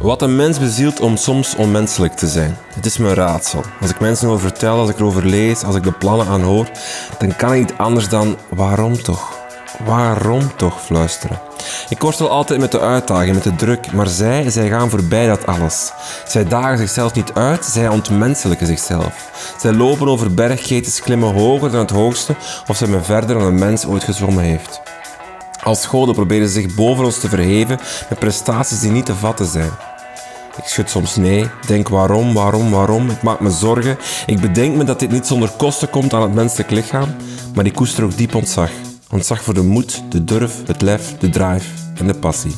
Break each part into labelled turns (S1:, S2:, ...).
S1: Wat een mens bezielt om soms onmenselijk te zijn. Het is mijn raadsel. Als ik mensen over vertel, als ik erover lees, als ik de plannen aanhoor, dan kan ik niet anders dan waarom toch? Waarom toch fluisteren? Ik worstel altijd met de uitdaging, met de druk, maar zij, zij gaan voorbij dat alles. Zij dagen zichzelf niet uit, zij ontmenselijken zichzelf. Zij lopen over berggetens, klimmen hoger dan het hoogste of zij men verder dan een mens ooit gezwommen heeft. Als goden proberen ze zich boven ons te verheven met prestaties die niet te vatten zijn. Ik schud soms nee, denk waarom, waarom, waarom. Ik maak me zorgen. Ik bedenk me dat dit niet zonder kosten komt aan het menselijk lichaam, maar ik koester ook diep ontzag. Ontzag voor de moed, de durf, het lef, de drive en de passie.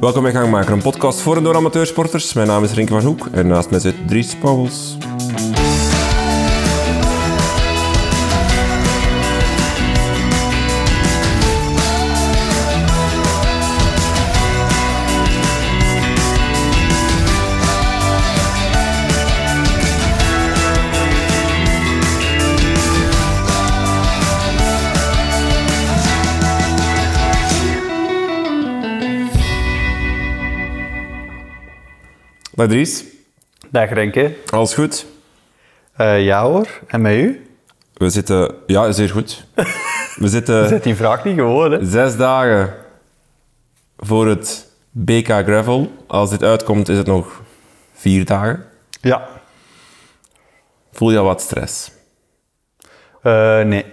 S1: Welkom bij Gangmaker, een podcast voor en door amateursporters. Mijn naam is Rinke van Hoek en naast mij zit Dries Pauwels. Dag Dries,
S2: Dag Renke.
S1: alles goed?
S2: Eh, ja hoor, en met u?
S1: We zitten... Ja, zeer goed. We zitten
S2: Zet die vraag niet gewoon, hè?
S1: zes dagen voor het BK Gravel. Als dit uitkomt is het nog vier dagen.
S2: Ja.
S1: Voel je al wat stress?
S2: Eh, nee.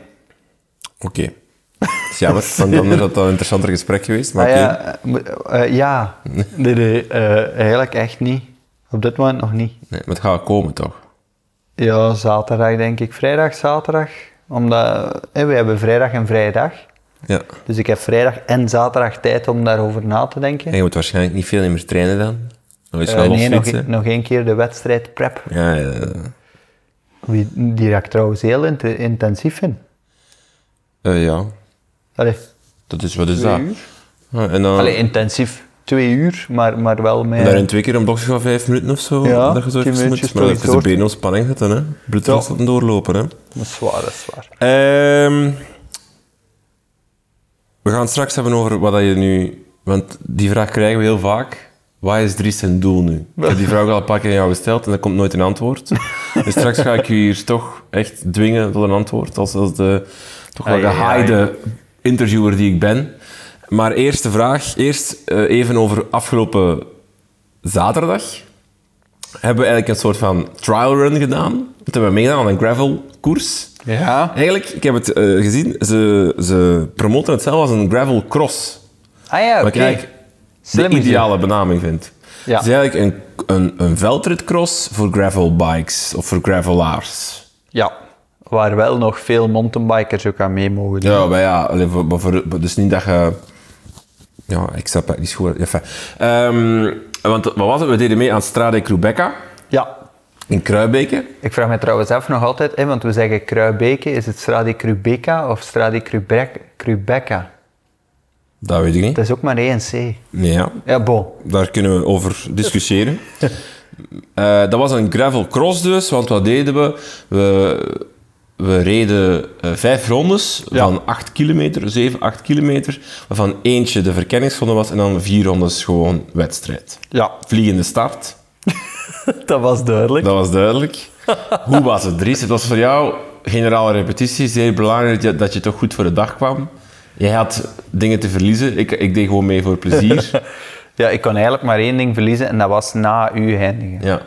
S1: Oké. Dat is jammer, want dan is dat een interessanter gesprek geweest. Maar
S2: Ah,
S1: oké.
S2: ja, eh, mo- eh, ja. nee, nee eh, eigenlijk echt niet. Op dit moment nog niet.
S1: Nee, maar het gaat komen toch?
S2: Ja, zaterdag denk ik. Vrijdag, zaterdag. Omdat eh, we hebben vrijdag en vrijdag.
S1: Ja.
S2: Dus ik heb vrijdag en zaterdag tijd om daarover na te denken.
S1: En je moet waarschijnlijk niet veel meer trainen dan. Dan is je
S2: Eh,
S1: wel
S2: nee, nog,
S1: losfietsen.
S2: nog één keer de wedstrijd prep.
S1: Ja, ja, ja.
S2: Die, die ik trouwens heel int- intensief vind.
S1: Eh, ja.
S2: Allee,
S1: Dat is wat is dat? Ja, en dan,
S2: allee, intensief. Twee uur, maar, maar wel met...
S1: en daarin twee keer een blokje van vijf minuten of zo.
S2: Ja,
S1: dat je zo even
S2: tien
S1: moet.
S2: minuutjes
S1: Maar dan
S2: door-
S1: even de
S2: door-
S1: benen op spanning zetten, hè. Bloedvasten doorlopen, hè.
S2: Dat is zwaar, dat is zwaar.
S1: Ehm, we gaan het straks hebben over wat dat je nu... Want die vraag krijgen we heel vaak. Wat is Dries zijn doel nu? Ik heb die vraag al een paar keer aan jou gesteld en er komt nooit een antwoord. Dus straks ga ik je hier toch echt dwingen tot een antwoord. Als, als de toch wel
S2: Ai, ai, ai.
S1: gehaaide interviewer die ik ben. Maar eerst de vraag. Eerst eh, even over afgelopen zaterdag hebben we eigenlijk een soort van trial run gedaan. Toen hebben we meegedaan aan een gravel koers.
S2: Ja.
S1: Eigenlijk, ik heb het eh, gezien, ze, ze promoten het zelf als een gravel cross.
S2: Ah ja, oké.
S1: Wat ik eigenlijk de
S2: Slim is
S1: ideale benaming vind.
S2: Ja.
S1: Het is eigenlijk een, een, een veldritcross voor gravel bikes of voor gravelaars.
S2: Ja. Waar wel nog veel mountainbikers ook aan mee mogen doen.
S1: Ja, maar ja, allee, voor, maar voor, maar dus niet dat je... Ja, ik snap het niet goed. Enfin, ehm, want wat was het? We deden mee aan Strade Crubecca
S2: Ja.
S1: in Kruibeke.
S2: Ik vraag me trouwens af nog altijd, hè, want we zeggen Kruibeke, is het Strade Krubeka of Strade Krubek- Krubeka?
S1: Dat weet ik niet.
S2: Het is ook maar één C.
S1: Nee, ja.
S2: Ja, bon.
S1: Daar kunnen we over discussiëren. Eh, dat was een gravel cross dus, want wat deden we? We, we reden eh, vijf rondes van 8 kilometer, 7, 8 kilometer, waarvan eentje de verkenningsronde was en dan vier rondes gewoon wedstrijd.
S2: Ja,
S1: Vliegende start,
S2: dat was duidelijk.
S1: dat was duidelijk. Hoe was het, Dries? Het was voor jou generale repetitie, zeer belangrijk dat- dat je toch goed voor de dag kwam. Jij had dingen te verliezen, ik, ik deed gewoon mee voor plezier.
S2: Ja, ik kon eigenlijk maar één ding verliezen en dat was na u eindigen.
S1: Ja,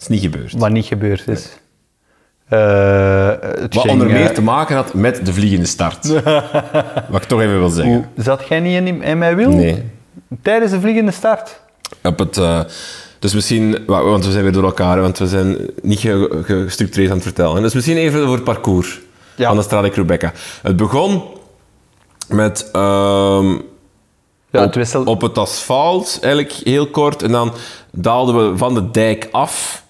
S1: is niet gebeurd.
S2: Wat niet gebeurd is. Eh, het
S1: Wat
S2: ging,
S1: onder
S2: eh,
S1: meer te maken had met de vliegende start. Wat ik toch even wil zeggen.
S2: Zat jij niet in, die- in mijn wiel?
S1: Nee.
S2: Tijdens de vliegende start?
S1: Op het, eh, dus misschien, wa- want we zijn weer door elkaar, want we zijn niet ge- ge- gestructureerd aan het vertellen. Dus misschien even over het parcours
S2: Ja.
S1: van de Strade Rebecca. Het begon met ehm,
S2: Ja,
S1: op,
S2: het wisselt.
S1: op het asfalt, eigenlijk heel kort. En dan daalden we van de dijk af.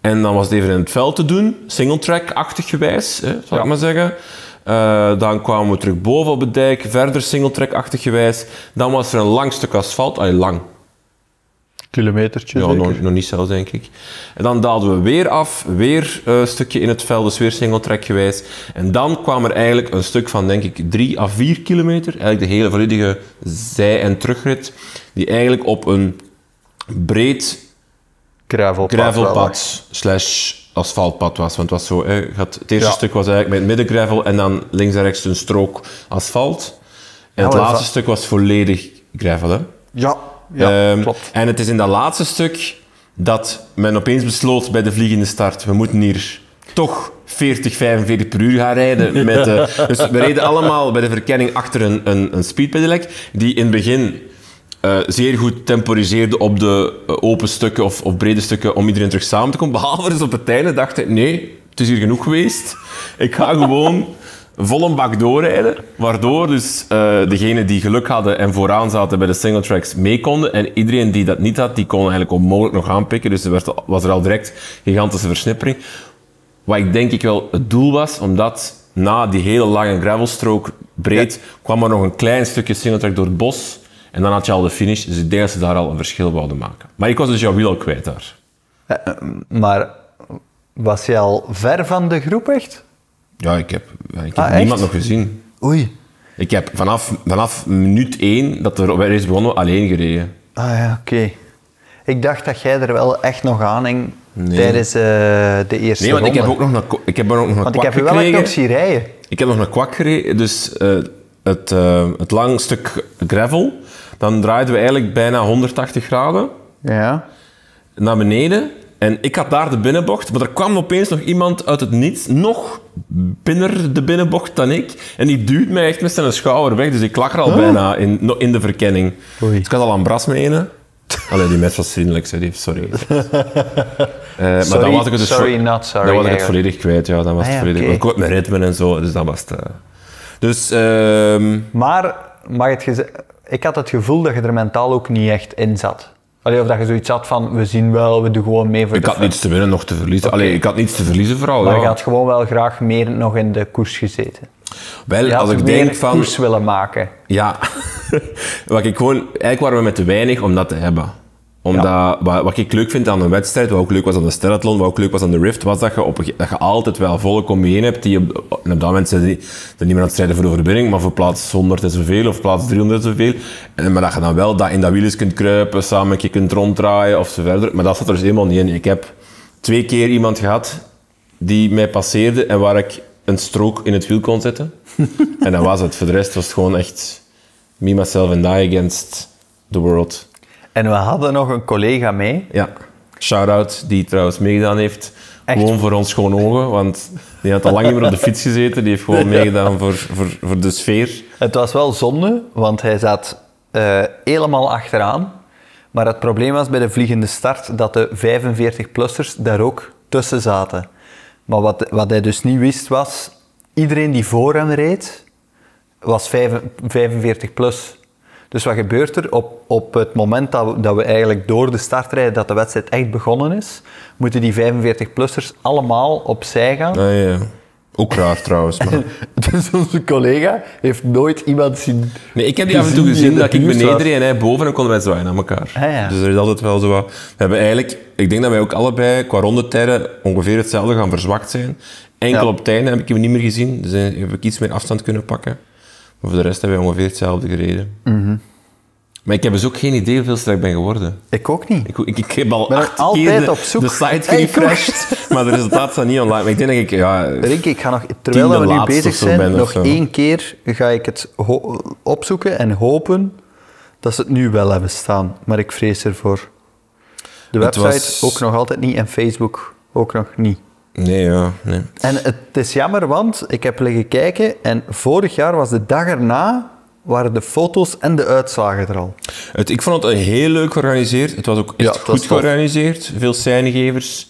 S1: En dan was het even in het veld te doen, singletrack-achtig gewijs, hè, zou ik
S2: Ja.
S1: maar zeggen. Eh, dan kwamen we terug boven op de dijk, verder singletrack-achtig gewijs. Dan was er een lang stuk asfalt, allee, lang,
S2: Kilometertje
S1: ja, nog, nog niet zelfs, denk ik. En dan daalden we weer af, weer eh, een stukje in het veld, dus weer singletrack gewijs. En dan kwam er eigenlijk een stuk van, denk ik, drie à vier kilometer, eigenlijk de hele volledige zij- en terugrit, die eigenlijk op een breed
S2: Kruivelpad. wel, hè.
S1: gravelpad slash asfaltpad was. Want het, was zo, hè, je had- het eerste
S2: Ja.
S1: stuk was eigenlijk met midden gravel en dan links en rechts een strook asfalt. En het
S2: maar
S1: laatste
S2: dat-
S1: stuk was volledig gravel. Hè?
S2: Ja, ja
S1: Ehm,
S2: klopt.
S1: En het is in dat laatste stuk dat men opeens besloot bij de vliegende start, we moeten hier toch 40, 45 per uur gaan rijden. Met, eh, dus we reden allemaal bij de verkenning achter een, een, een speedpedelec, die in het begin eh, zeer goed temporiseerde op de eh, open stukken of, of brede stukken om iedereen terug samen te komen. Behalve dus op het einde dacht ik, nee, het is hier genoeg geweest. Ik ga gewoon vol een bak doorrijden. Waardoor dus eh degenen die geluk hadden en vooraan zaten bij de single tracks mee konden. En iedereen die dat niet had, die kon eigenlijk onmogelijk nog aanpikken. Dus er werd, was er al direct gigantische versnippering. Wat ik denk ik wel het doel was, omdat na die hele lange gravelstrook breed kwam er nog een klein stukje singletrack door het bos. En dan had je al de finish, dus ik denk dat ze daar al een verschil wilden maken. Maar ik was dus jouw wiel al kwijt daar.
S2: Maar was jij al ver van de groep echt?
S1: Ja, ik heb, ik heb
S2: Ah, echt?
S1: niemand nog gezien.
S2: Oei.
S1: Ik heb vanaf, vanaf minuut één dat de race begonnen alleen gereden.
S2: Ah ja, oké. Ik dacht dat jij er wel echt nog aan hing
S1: Nee.
S2: tijdens eh, de eerste
S1: Nee, want ik
S2: ronde.
S1: heb ook nog een, ko- ik heb er ook nog een
S2: Want ik
S1: kwak
S2: heb je wel echt
S1: gekregen.
S2: nog zien rijden.
S1: Ik heb nog een kwak gereden, dus eh, het, eh, het lang stuk gravel. Dan draaiden we eigenlijk bijna 180 graden
S2: Ja.
S1: naar beneden. En ik had daar de binnenbocht, maar er kwam opeens nog iemand uit het niets, nog binnen de binnenbocht dan ik. En die duwt mij echt met zijn schouder weg, dus ik lag er al bijna in, no- in de verkenning.
S2: Oh. Oei.
S1: Dus ik had al aan Bras mee ene. Allee, die match was vriendelijk, zei die. Sorry. Eh, maar
S2: Sorry,
S1: dan was ik het dus
S2: sorry,
S1: vo-
S2: not sorry,
S1: Dan was ik het
S2: eigenlijk.
S1: volledig kwijt, ja. Dan was
S2: Ah,
S1: het
S2: ja,
S1: volledig...
S2: oké.
S1: Ik had mijn ritme en zo, dus dat was het... eh. Dus... ehm,
S2: Maar mag het geze- ik had het gevoel dat je er mentaal ook niet echt in zat. Allee, of dat je zoiets had van, we zien wel, we doen gewoon mee voor
S1: ik
S2: de
S1: had
S2: fun.
S1: niets te winnen, nog te verliezen. Allee, ik had niets te verliezen vooral,
S2: Maar
S1: ja.
S2: je had gewoon wel graag meer nog in de koers gezeten.
S1: Wel,
S2: Je had
S1: als ik
S2: meer
S1: denk van...
S2: koers willen maken.
S1: Ja, wat ik gewoon, eigenlijk waren we met te weinig om dat te hebben. Omdat, wat, wat ik leuk vind aan een wedstrijd, wat ook leuk was aan de Stellathlon, wat ook leuk was aan de Rift, was dat je, op, een ge- dat je altijd wel volle combi één hebt. Die op, en op dat moment zijn die, zijn niet meer aan het strijden voor de overwinning, maar voor plaats 100 en zoveel, of plaats 300 en zoveel. En, maar dat je dan wel dat in dat wiel eens kunt kruipen, samen een keer kunt ronddraaien of zo verder. Maar dat zat er dus helemaal niet in. Ik heb twee keer iemand gehad die mij passeerde en waar ik een strook in het wiel kon zetten. en dat was het. Voor de rest was het gewoon echt me, myself and I against the world.
S2: En we hadden nog een collega mee.
S1: Ja. Shout-out die trouwens meegedaan heeft.
S2: Echt?
S1: Gewoon voor ons schoon ogen, want die had al lang niet meer op de fiets gezeten. Die heeft gewoon meegedaan voor, voor, voor de sfeer.
S2: Het was wel zonde, want hij zat eh, helemaal achteraan. Maar het probleem was bij de vliegende start dat de 45-plussers daar ook tussen zaten. Maar wat, wat hij dus niet wist was, iedereen die voor hem reed, was vijf- 45 plus. Dus wat gebeurt er? Op, op het moment dat we, dat we eigenlijk door de start rijden, dat de wedstrijd echt begonnen is, moeten die 45-plussers allemaal opzij gaan.
S1: Ah, ja. Ook raar trouwens. Maar...
S2: Dus onze collega heeft nooit iemand zien.
S1: Nee, ik heb die af en toe
S2: Gezien die
S1: gezien
S2: in de
S1: dat ik
S2: buurt
S1: beneden
S2: was.
S1: reed en hij boven en konden wij zwaaien aan elkaar.
S2: Ah, ja.
S1: Dus er is altijd wel zo wat... We hebben eigenlijk... Ik denk dat wij ook allebei qua rondetijden ongeveer hetzelfde gaan verzwakt zijn. Enkel
S2: Ja.
S1: op het einde heb ik hem niet meer gezien, dus eh, heb ik iets meer afstand kunnen pakken. Maar voor de rest hebben wij ongeveer hetzelfde gereden.
S2: Mhm.
S1: Maar ik heb dus ook geen idee hoeveel sterk ik ben geworden.
S2: Ik ook niet.
S1: Ik, ik, ik heb al
S2: Ben
S1: acht
S2: altijd
S1: keer de,
S2: op zoek.
S1: de site
S2: Hey, ik
S1: gerefreshed, maar de resultaten staan niet online. Maar ik denk dat ik... Ja,
S2: Rink, ik ga nog, terwijl
S1: Tiende
S2: we nu
S1: laatste
S2: bezig
S1: of zo
S2: zijn,
S1: ben of
S2: nog
S1: zo.
S2: één keer ga ik het ho- opzoeken en hopen dat ze het nu wel hebben staan. Maar ik vrees ervoor. De
S1: Het
S2: website
S1: was-
S2: ook nog altijd niet en Facebook ook nog niet.
S1: Nee, ja. Nee.
S2: En het is jammer, want ik heb liggen kijken en vorig jaar was de dag erna waren de foto's en de uitslagen er al.
S1: Het, ik vond het eh, heel leuk georganiseerd. Het was ook echt
S2: het was
S1: goed
S2: tof.
S1: georganiseerd. Veel scènegevers.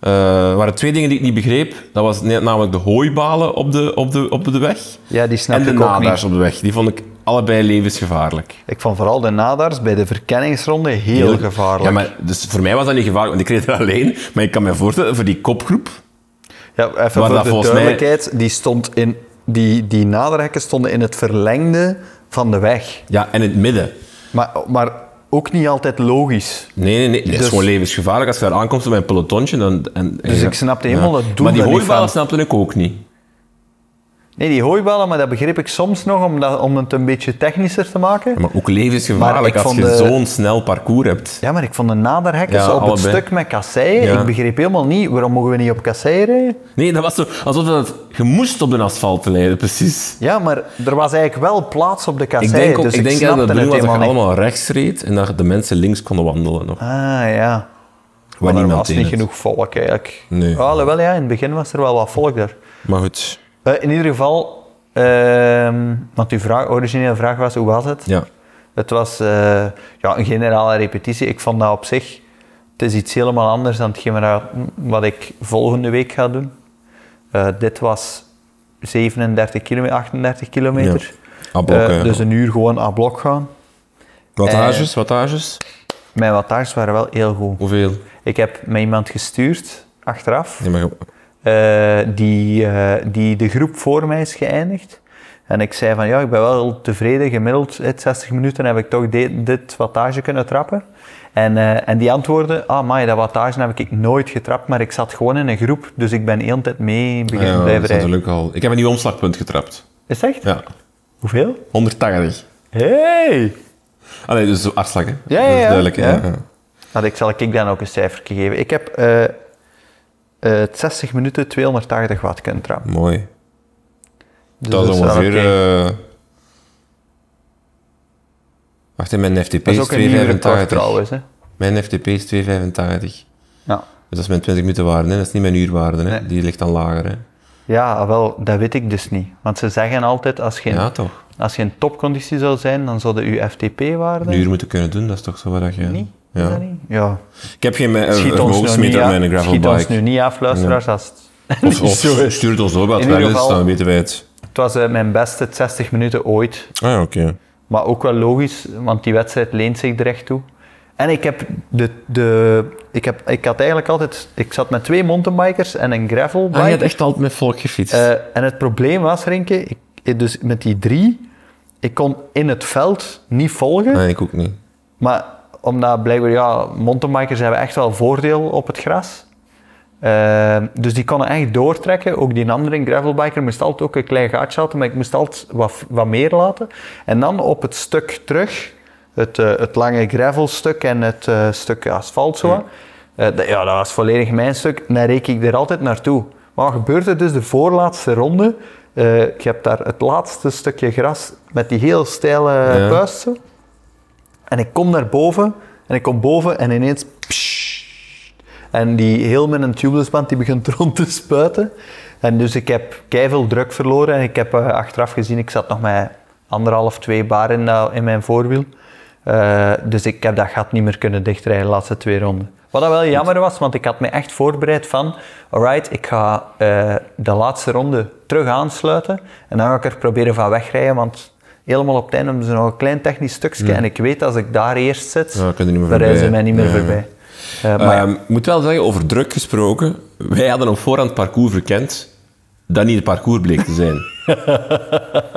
S1: Eh, er waren twee dingen die ik niet begreep. Dat was net namelijk de hooibalen op de, op de, op de weg.
S2: Ja, die snap
S1: en de
S2: ik ook niet.
S1: nadaars op de weg. Die vond ik allebei levensgevaarlijk.
S2: Ik vond vooral de nadars bij de verkenningsronde heel, gevaarlijk.
S1: Ja, maar dus voor mij was dat niet gevaarlijk, want ik reed er alleen. Maar ik kan me voorstellen, voor die kopgroep...
S2: Ja, even
S1: Waar
S2: voor
S1: dat
S2: de
S1: volgens mij-
S2: duidelijkheid, die, stond in, die, die naderhekken stonden in het verlengde van de weg.
S1: Ja, en in het midden.
S2: Maar, maar ook niet altijd logisch.
S1: Nee, nee, nee. Dat is
S2: Dus-
S1: gewoon levensgevaarlijk. Als je daar aankomt met een pelotonnetje, dan... En,
S2: Dus ik snapte helemaal het doel
S1: Maar die
S2: daar niet
S1: hooibalen
S2: van.
S1: snapte ik ook niet.
S2: Nee, die hooiballen, maar dat begreep ik soms nog om, dat, om het een beetje technischer te maken.
S1: Ja, maar ook
S2: Maar ik
S1: levensgevaarlijk als
S2: vond
S1: je
S2: de-
S1: zo'n snel parcours hebt.
S2: Ja, maar ik vond de naderhekkers
S1: Ja,
S2: op het
S1: allebei.
S2: stuk met kasseien.
S1: Ja.
S2: Ik begreep helemaal niet, waarom mogen we niet op kasseien rijden?
S3: Nee, dat was zo alsof dat, je moest op de asfalt rijden, precies.
S2: Ja, maar er was eigenlijk wel plaats op de
S1: Ik
S2: kasseien,
S1: denk, ook,
S2: dus
S1: ik
S2: ik,
S1: denk dat
S2: snapte
S1: het bedoeling was
S2: het
S1: dat je
S2: helemaal niet.
S1: allemaal rechts reed en dat de mensen links konden wandelen nog.
S2: Ah, ja.
S1: Waar
S2: maar er
S1: niemand
S2: was
S1: deed
S2: niet
S1: het.
S2: genoeg volk eigenlijk.
S1: Nee.
S2: Alhoewel, ja, in het begin was er wel wat volk daar.
S1: Maar goed,
S2: Eh, in ieder geval, ehm, want uw vraag, originele vraag was, hoe was het?
S1: ja.
S2: Het was eh, ja, een generale repetitie. Ik vond dat op zich, het is iets helemaal anders dan hetgeen waar- wat ik volgende week ga doen. Eh, dit was 37 kilometer, 38 kilometer.
S1: Ah, blok,
S2: Eh,
S1: hè.
S2: dus Eh. een uur gewoon aan blok gaan.
S1: Wattages, wattages?
S2: Mijn wattages waren wel heel goed.
S1: Hoeveel?
S2: Ik heb met iemand gestuurd, achteraf.
S1: Ja, maar je-
S2: eh, die, eh, die de groep voor mij is geëindigd. En ik zei van ja, ik ben wel tevreden. Gemiddeld uit 60 minuten heb ik toch de- dit wattage kunnen trappen. En, eh, en die antwoordde, ah maar dat wattage heb ik nooit getrapt, maar ik zat gewoon in een groep, dus ik ben heel de tijd mee
S1: Ah,
S2: beginnen
S1: ja, dat
S2: blijven
S1: is
S2: rijden.
S1: natuurlijk al... Ik heb een nieuw omslagpunt getrapt.
S2: Is het echt?
S1: Ja,
S2: Hoeveel?
S1: 180.
S2: Hey!
S1: Ah nee, dus afslag, hè?
S2: ja,
S1: dat is
S2: ja.
S1: duidelijk. hè.
S2: Ja.
S1: Ja, ja.
S2: Nou, ik zal ik dan ook een cijfer geven. Ik heb eh, eh, het 60 minuten 280 watt kunnen trappen.
S1: Mooi.
S2: Dus
S1: dat is
S2: wel
S1: ongeveer...
S2: oké.
S1: eh, Wacht, hè, mijn FTP
S2: dat
S1: is,
S2: is ook een nieuw record
S1: 285.
S2: trouwens. Hè?
S1: Mijn FTP is 285.
S2: Ja.
S1: Dus dat is mijn 20 minuten waarde, hè? dat is niet mijn uurwaarde. Hè?
S2: Nee.
S1: Die ligt dan lager. Hè?
S2: Ja, wel, dat weet ik dus niet. Want ze zeggen altijd, als je,
S1: Ja, toch?
S2: als je in topconditie zou zijn, dan zou de UFTP-waarde...
S1: Een uur moeten kunnen doen, dat is toch zo wat je...
S2: Niet? Is
S1: Ja.
S2: dat niet? Ja.
S1: Ik heb geen eh,
S2: Schiet, ons nu, niet
S1: vermogensmeter op
S2: af,
S1: mijn
S2: schiet ons
S1: gravelbike.
S2: nu niet af, luisteraars. Als het,
S1: Of, of
S2: Zo is.
S1: stuurt ons op wat
S2: In
S1: wel
S2: ieder
S1: is,
S2: geval-
S1: dan weten wij het.
S2: het was eh, mijn beste 60 minuten ooit.
S1: Ah ja, oké.
S2: Maar ook wel logisch, want die wedstrijd leent zich er echt toe. En ik heb de... de ik, heb, ik had eigenlijk altijd... Ik zat met twee mountainbikers en een gravelbike.
S3: Ah, je hebt echt altijd met volk gefietst.
S2: Eh, en het probleem was, Renke, ik- ik, dus met die drie... Ik kon in het veld niet volgen.
S1: Nee, ik ook niet.
S2: Maar omdat blijkbaar, ja, mountainbikers hebben echt wel voordeel op het gras. Ehm, dus die konden echt doortrekken. Ook die andere gravelbiker moest altijd ook een klein gaatje laten, maar ik moest altijd wat, wat meer laten. En dan op het stuk terug, het, eh, het lange gravelstuk en het eh, stuk asfalt zo. eh, dat- ja, dat was volledig mijn stuk. Dan reek ik er altijd naartoe. Maar wat gebeurt er dus de voorlaatste ronde? Eh je hebt daar het laatste stukje gras met die heel steile
S1: Ja.
S2: puist zo. En ik kom naar boven, en ik kom boven en ineens... pssst. en die heel met een tubeless band, die begint rond te spuiten. En dus ik heb veel druk verloren en ik heb eh, achteraf gezien, ik zat nog met anderhalf, twee bar in, dat- in mijn voorwiel. Eh, dus ik heb dat gat niet meer kunnen dichtrijden de laatste twee ronden. Wat dat wel jammer was, want ik had me echt voorbereid van, alright, ik ga eh, de laatste ronde terug aansluiten en dan ga ik er proberen van wegrijden, want helemaal op het einde hebben ze nog een klein technisch stukje en ik weet als ik daar eerst zit,
S1: Ja, kun je niet meer
S2: dan rijden ze
S1: voorbij.
S2: mij niet meer
S1: Nee,
S2: voorbij. Eh, maar ja,
S1: Ehm, Ik moet wel zeggen, over druk gesproken. Wij hadden op voorhand het parcours verkend dat niet het parcours bleek te zijn.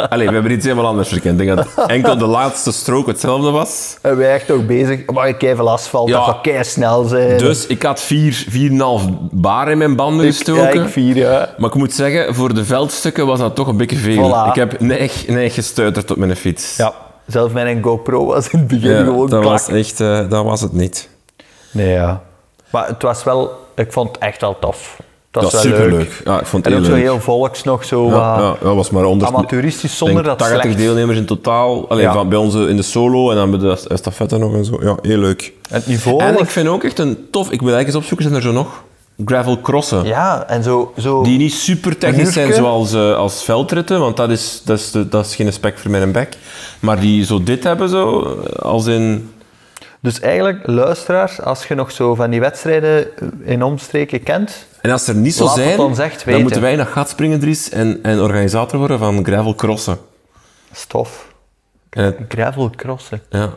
S1: Allee, we hebben iets helemaal anders verkend. Ik denk dat enkel de laatste strook hetzelfde was.
S2: En wij echt ook bezig. Maar ik even asfalt,
S1: Ja.
S2: dat gaat kei snel zijn.
S1: Dus ik had 4, 4,5 bar in mijn banden
S2: ja,
S1: gestoken.
S2: Eh, ik vier, ja.
S1: Maar ik moet zeggen, voor de veldstukken was dat toch een beetje veel.
S2: Voilà.
S1: Ik heb neig, neig gestuiterd op mijn fiets.
S2: ja. Zelf mijn GoPro was in het begin
S1: Ja,
S2: gewoon
S1: dat
S2: klak.
S1: was echt, eh, dat was het niet.
S2: Nee, ja. Maar het was wel, ik vond het echt wel tof. Het was
S1: Dat was
S2: wel
S1: superleuk.
S2: leuk.
S1: Ja, ik vond het
S2: En ook
S1: heel
S2: zo
S1: leuk.
S2: heel volks nog zo.
S1: Ja,
S2: wat-
S1: ja, dat was maar 100.
S2: amateuristisch Ah. zonder
S1: denk
S2: dat
S1: 80
S2: slecht.
S1: deelnemers in totaal. Alleen
S2: Ja.
S1: van bij ons eh, in de solo en dan bij de estafette nog en zo. Ja, heel leuk.
S2: Het niveau
S1: En
S2: was-
S1: ik vind ook echt een tof. Ik wil eigenlijk eens opzoeken, zijn er zo nog gravel crossen.
S2: Ja, en zo... zo
S1: Die niet super
S2: Een
S1: technisch
S2: uurke.
S1: zijn zoals eh, als veldritten, want dat is, dat, is de- dat is geen spek voor mijn bek. Maar die zo dit hebben, zo, eh, als in...
S2: Dus eigenlijk, luisteraars, als je nog zo van die wedstrijden in omstreken kent...
S1: En als er niet zo
S2: Laat het
S1: zijn,
S2: ons echt
S1: dan
S2: weten.
S1: moeten wij naar gat springen, Dries, en, en organisator worden van gravel crossen.
S2: Stof.
S1: En het-
S2: Gravel crossen.
S1: ja.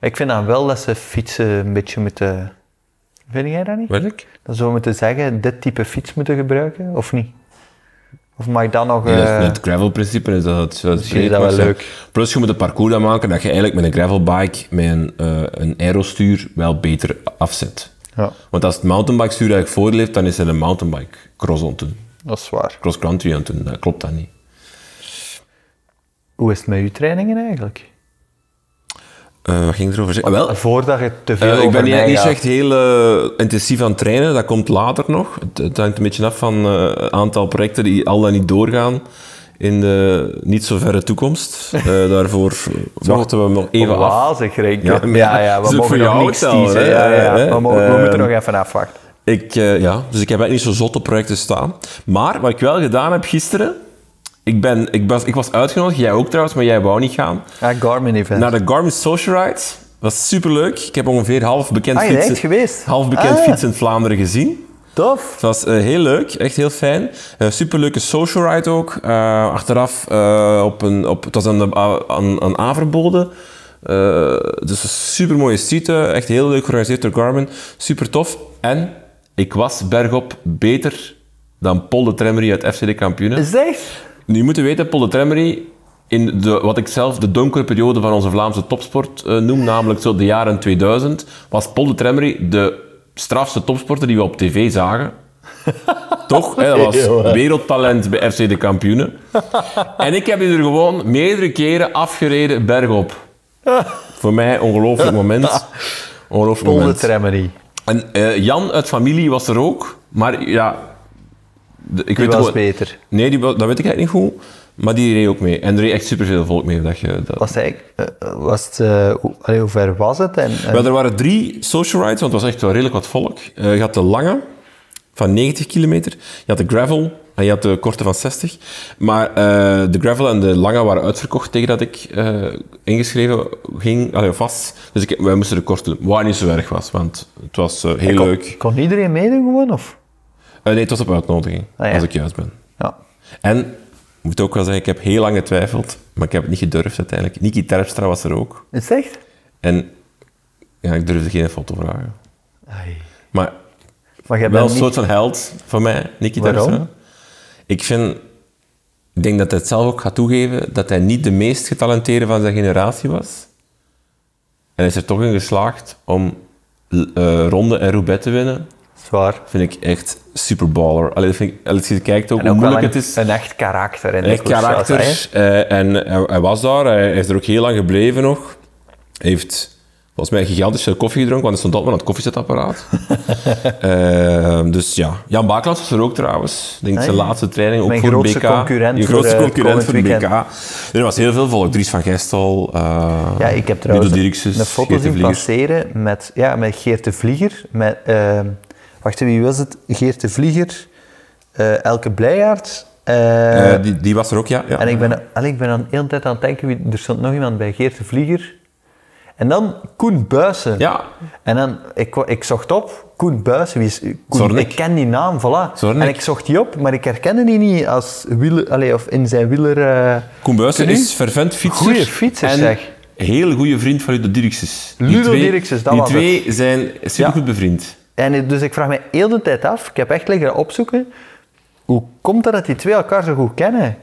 S2: Ik vind dan wel dat ze fietsen een beetje moeten... Vind jij dat niet?
S1: Weet ik?
S2: Dat ze moeten zeggen, dit type fiets moeten gebruiken, of niet? Of mag ik dan nog...
S1: Ja, dat is
S2: eh,
S1: met het gravelprincipe is dat het zo
S2: zie je dat wel leuk.
S1: Plus je moet een parcours dan maken dat je eigenlijk met een gravelbike, met een, eh een aerostuur, wel beter afzet.
S2: Ja.
S1: Want als het mountainbike stuur eigenlijk voordeel heeft, dan is het een mountainbike cross on te doen.
S2: Dat is waar.
S1: cross country aan het doen. Dat klopt dat niet.
S2: Hoe is het met uw trainingen eigenlijk?
S1: Eh, wat ging erover zeggen? Ah, wel,
S2: Voordat je te veel
S1: Eh, ik
S2: over
S1: ben niet,
S2: mij
S1: niet
S2: gaat.
S1: echt heel eh, intensief aan het trainen, dat komt later nog. Het, het hangt een beetje af van eh, een aantal projecten die al dan niet doorgaan in de niet zo verre toekomst. Eh, daarvoor wachten we nog even af.
S2: Wazig, Rick.
S1: Ja,
S2: Ja,
S1: maar- dat
S2: ja, we
S1: is ook
S2: mogen
S1: voor
S2: nog
S1: jou
S2: niks
S1: vertellen,
S2: teasen.
S1: hè?
S2: Ja, ja,
S1: Ja, ja,
S2: We, mogen, we
S1: eh,
S2: moeten nog even afwachten.
S1: Ik, eh, ja, dus ik heb eigenlijk niet zo zotte projecten staan. Maar wat ik wel gedaan heb gisteren, ik, ben, ik, was, ik was uitgenodigd, jij ook trouwens, maar jij wou niet gaan,
S2: Ah, Garmin event.
S1: naar de Garmin Social Ride. was superleuk. Ik heb ongeveer half bekend,
S2: Ah, je
S1: fietsen,
S2: bent geweest?
S1: half bekend
S2: Ah.
S1: fietsen in Vlaanderen gezien.
S2: Tof.
S1: Het was eh, heel leuk, echt heel fijn. Eh superleuke social ride ook. Eh, achteraf, eh, op een, op, het was aan, de, aan, aan Averbolde. Eh, dus een super mooie site, echt heel leuk georganiseerd door Garmin. Super tof. En ik was bergop beter dan Paul de Tremmery uit FC de Kampioenen.
S2: Is het echt?
S1: Nu, je moet weten, Paul de Tremmery, in de, wat ik zelf de donkere periode van onze Vlaamse topsport eh, noem, namelijk zo de jaren 2000, was Paul de Tremmery de strafste topsporter die we op tv zagen. Toch? Hè, dat was wereldtalent bij FC de Kampioenen. En ik heb die er gewoon meerdere keren afgereden bergop. Voor mij ongelooflijk moment. Ongelooflijk
S2: Paul de
S1: moment.
S2: Tremmery.
S1: En eh, Jan uit familie was er ook, maar ja... de- ik
S2: Die
S1: weet
S2: was
S1: gewoon-
S2: beter.
S1: Nee, die, wa- dat weet ik eigenlijk niet goed. Maar die reed ook mee. En er reed echt superveel volk mee. Dat je, dat...
S2: Was hij, eh, eh, was het, eh, hoe, allee, hoe ver was het? En, en-
S1: Wel, er waren drie social rides, want het was echt wel redelijk wat volk. Eh, je had de lange, van 90 kilometer. Je had de gravel en je had de korte van 60. Maar eh, de gravel en de lange waren uitverkocht tegen dat ik eh, ingeschreven ging, allee, vast. Dus ik, wij moesten de korte doen, wat niet zo erg was, want het was eh, heel
S2: kon,
S1: leuk.
S2: Kon iedereen meedoen gewoon? Of?
S1: Eh, nee, het was op uitnodiging,
S2: Ah, ja.
S1: als ik juist ben.
S2: Ja.
S1: En, ik moet ook wel zeggen, ik heb heel lang getwijfeld, maar ik heb het niet gedurfd uiteindelijk. Niki Terpstra was er ook.
S2: Is het echt?
S1: En ja, ik durfde geen foto vragen.
S2: Ai.
S1: Maar
S2: Maar jij
S1: wel een
S2: bent
S1: soort
S2: niet...
S1: van held voor mij, Nicky
S2: Waarom?
S1: Terpstra. Ik vind, ik denk dat hij het zelf ook gaat toegeven, dat hij niet de meest getalenteerde van zijn generatie was. En hij is er toch in geslaagd om eh Ronde en Roubaix te winnen.
S2: Zwaar.
S1: Vind ik echt superballer. Allee, dat vind ik, als je kijkt ook
S2: En
S1: hoe
S2: ook wel
S1: moeilijk
S2: een,
S1: het is.
S2: een echt karakter. In de
S1: Echt
S2: koers,
S1: karakter.
S2: zou ik zeggen.
S1: eh, en hij, hij was daar, hij is er ook heel lang gebleven nog. Hij heeft volgens mij gigantisch veel koffie gedronken, want hij stond altijd maar aan het koffiezetapparaat. Eh, dus ja, Jan Baaklands was er ook trouwens. Ik denk zijn
S2: Ah, ja.
S1: laatste training, ook
S2: Mijn
S1: voor
S2: grootste
S1: BK.
S2: concurrent
S1: Je
S2: voor,
S1: grootste
S2: eh, het
S1: concurrent voor
S2: komend
S1: BK. Er was heel veel volk. Dries van Gestel, eh
S2: Ja, ik heb
S1: Ludo
S2: trouwens
S1: Dirkses,
S2: een foto
S1: Geert de
S2: zien
S1: Vlieger.
S2: passeren met, ja, met Geert de Vlieger. Met, ehm, wacht, wie was het? Geert de Vlieger, eh, Elke Blijaard. eh,
S1: Eh, die, die was er ook, ja. ja.
S2: en ik ben, allee, ik ben aan, de hele tijd aan het denken, wie, er stond nog iemand bij Geert de Vlieger. En dan Koen Buissen.
S1: Ja.
S2: En dan, ik, kwa- ik zocht op, Koen Buissen, wie is Koen?
S1: Zornik.
S2: Ik ken die naam, voilà.
S1: Zornik.
S2: En ik zocht die op, maar ik herkende die niet als wieler, allee, of in zijn wieler... eh,
S1: Koen Buijsen
S2: tenue.
S1: is fervent fietser.
S2: Goeie fietser,
S1: en
S2: zeg.
S1: heel goede vriend van Ludo Dirkses. Die
S2: Ludo
S1: twee-
S2: Dirkses, dat
S1: Die
S2: was
S1: twee zijn supergoed bevriend.
S2: En dus ik vraag me heel de tijd af, ik heb echt liggen opzoeken, hoe komt het dat die twee elkaar zo goed kennen?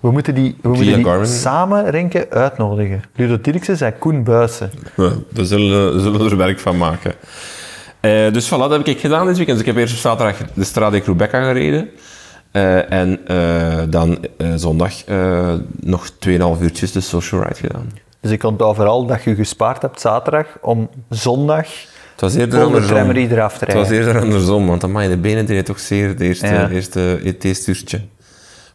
S2: We moeten die, we moeten
S1: Garmin.
S2: die samen, Renke, uitnodigen. Ludo Dirksen en Koen Buissen.
S1: We we zullen, we zullen er werk van maken. Eh, dus voilà, dat heb ik gedaan dit weekend. Dus ik heb eerst op zaterdag de Strade Rebecca gereden. Eh, en eh, dan eh, zondag eh, nog 2,5 uurtjes de social ride gedaan.
S2: Dus ik onthoud vooral dat je gespaard hebt zaterdag om zondag
S1: Het was eerder
S2: Paul de
S1: andersom.
S2: Tremmery eraf te
S1: Het was
S2: rijden.
S1: eerder andersom, want amai, de benen deed toch zeer het eerste,
S2: Ja.
S1: eerste, het eerste uurtje.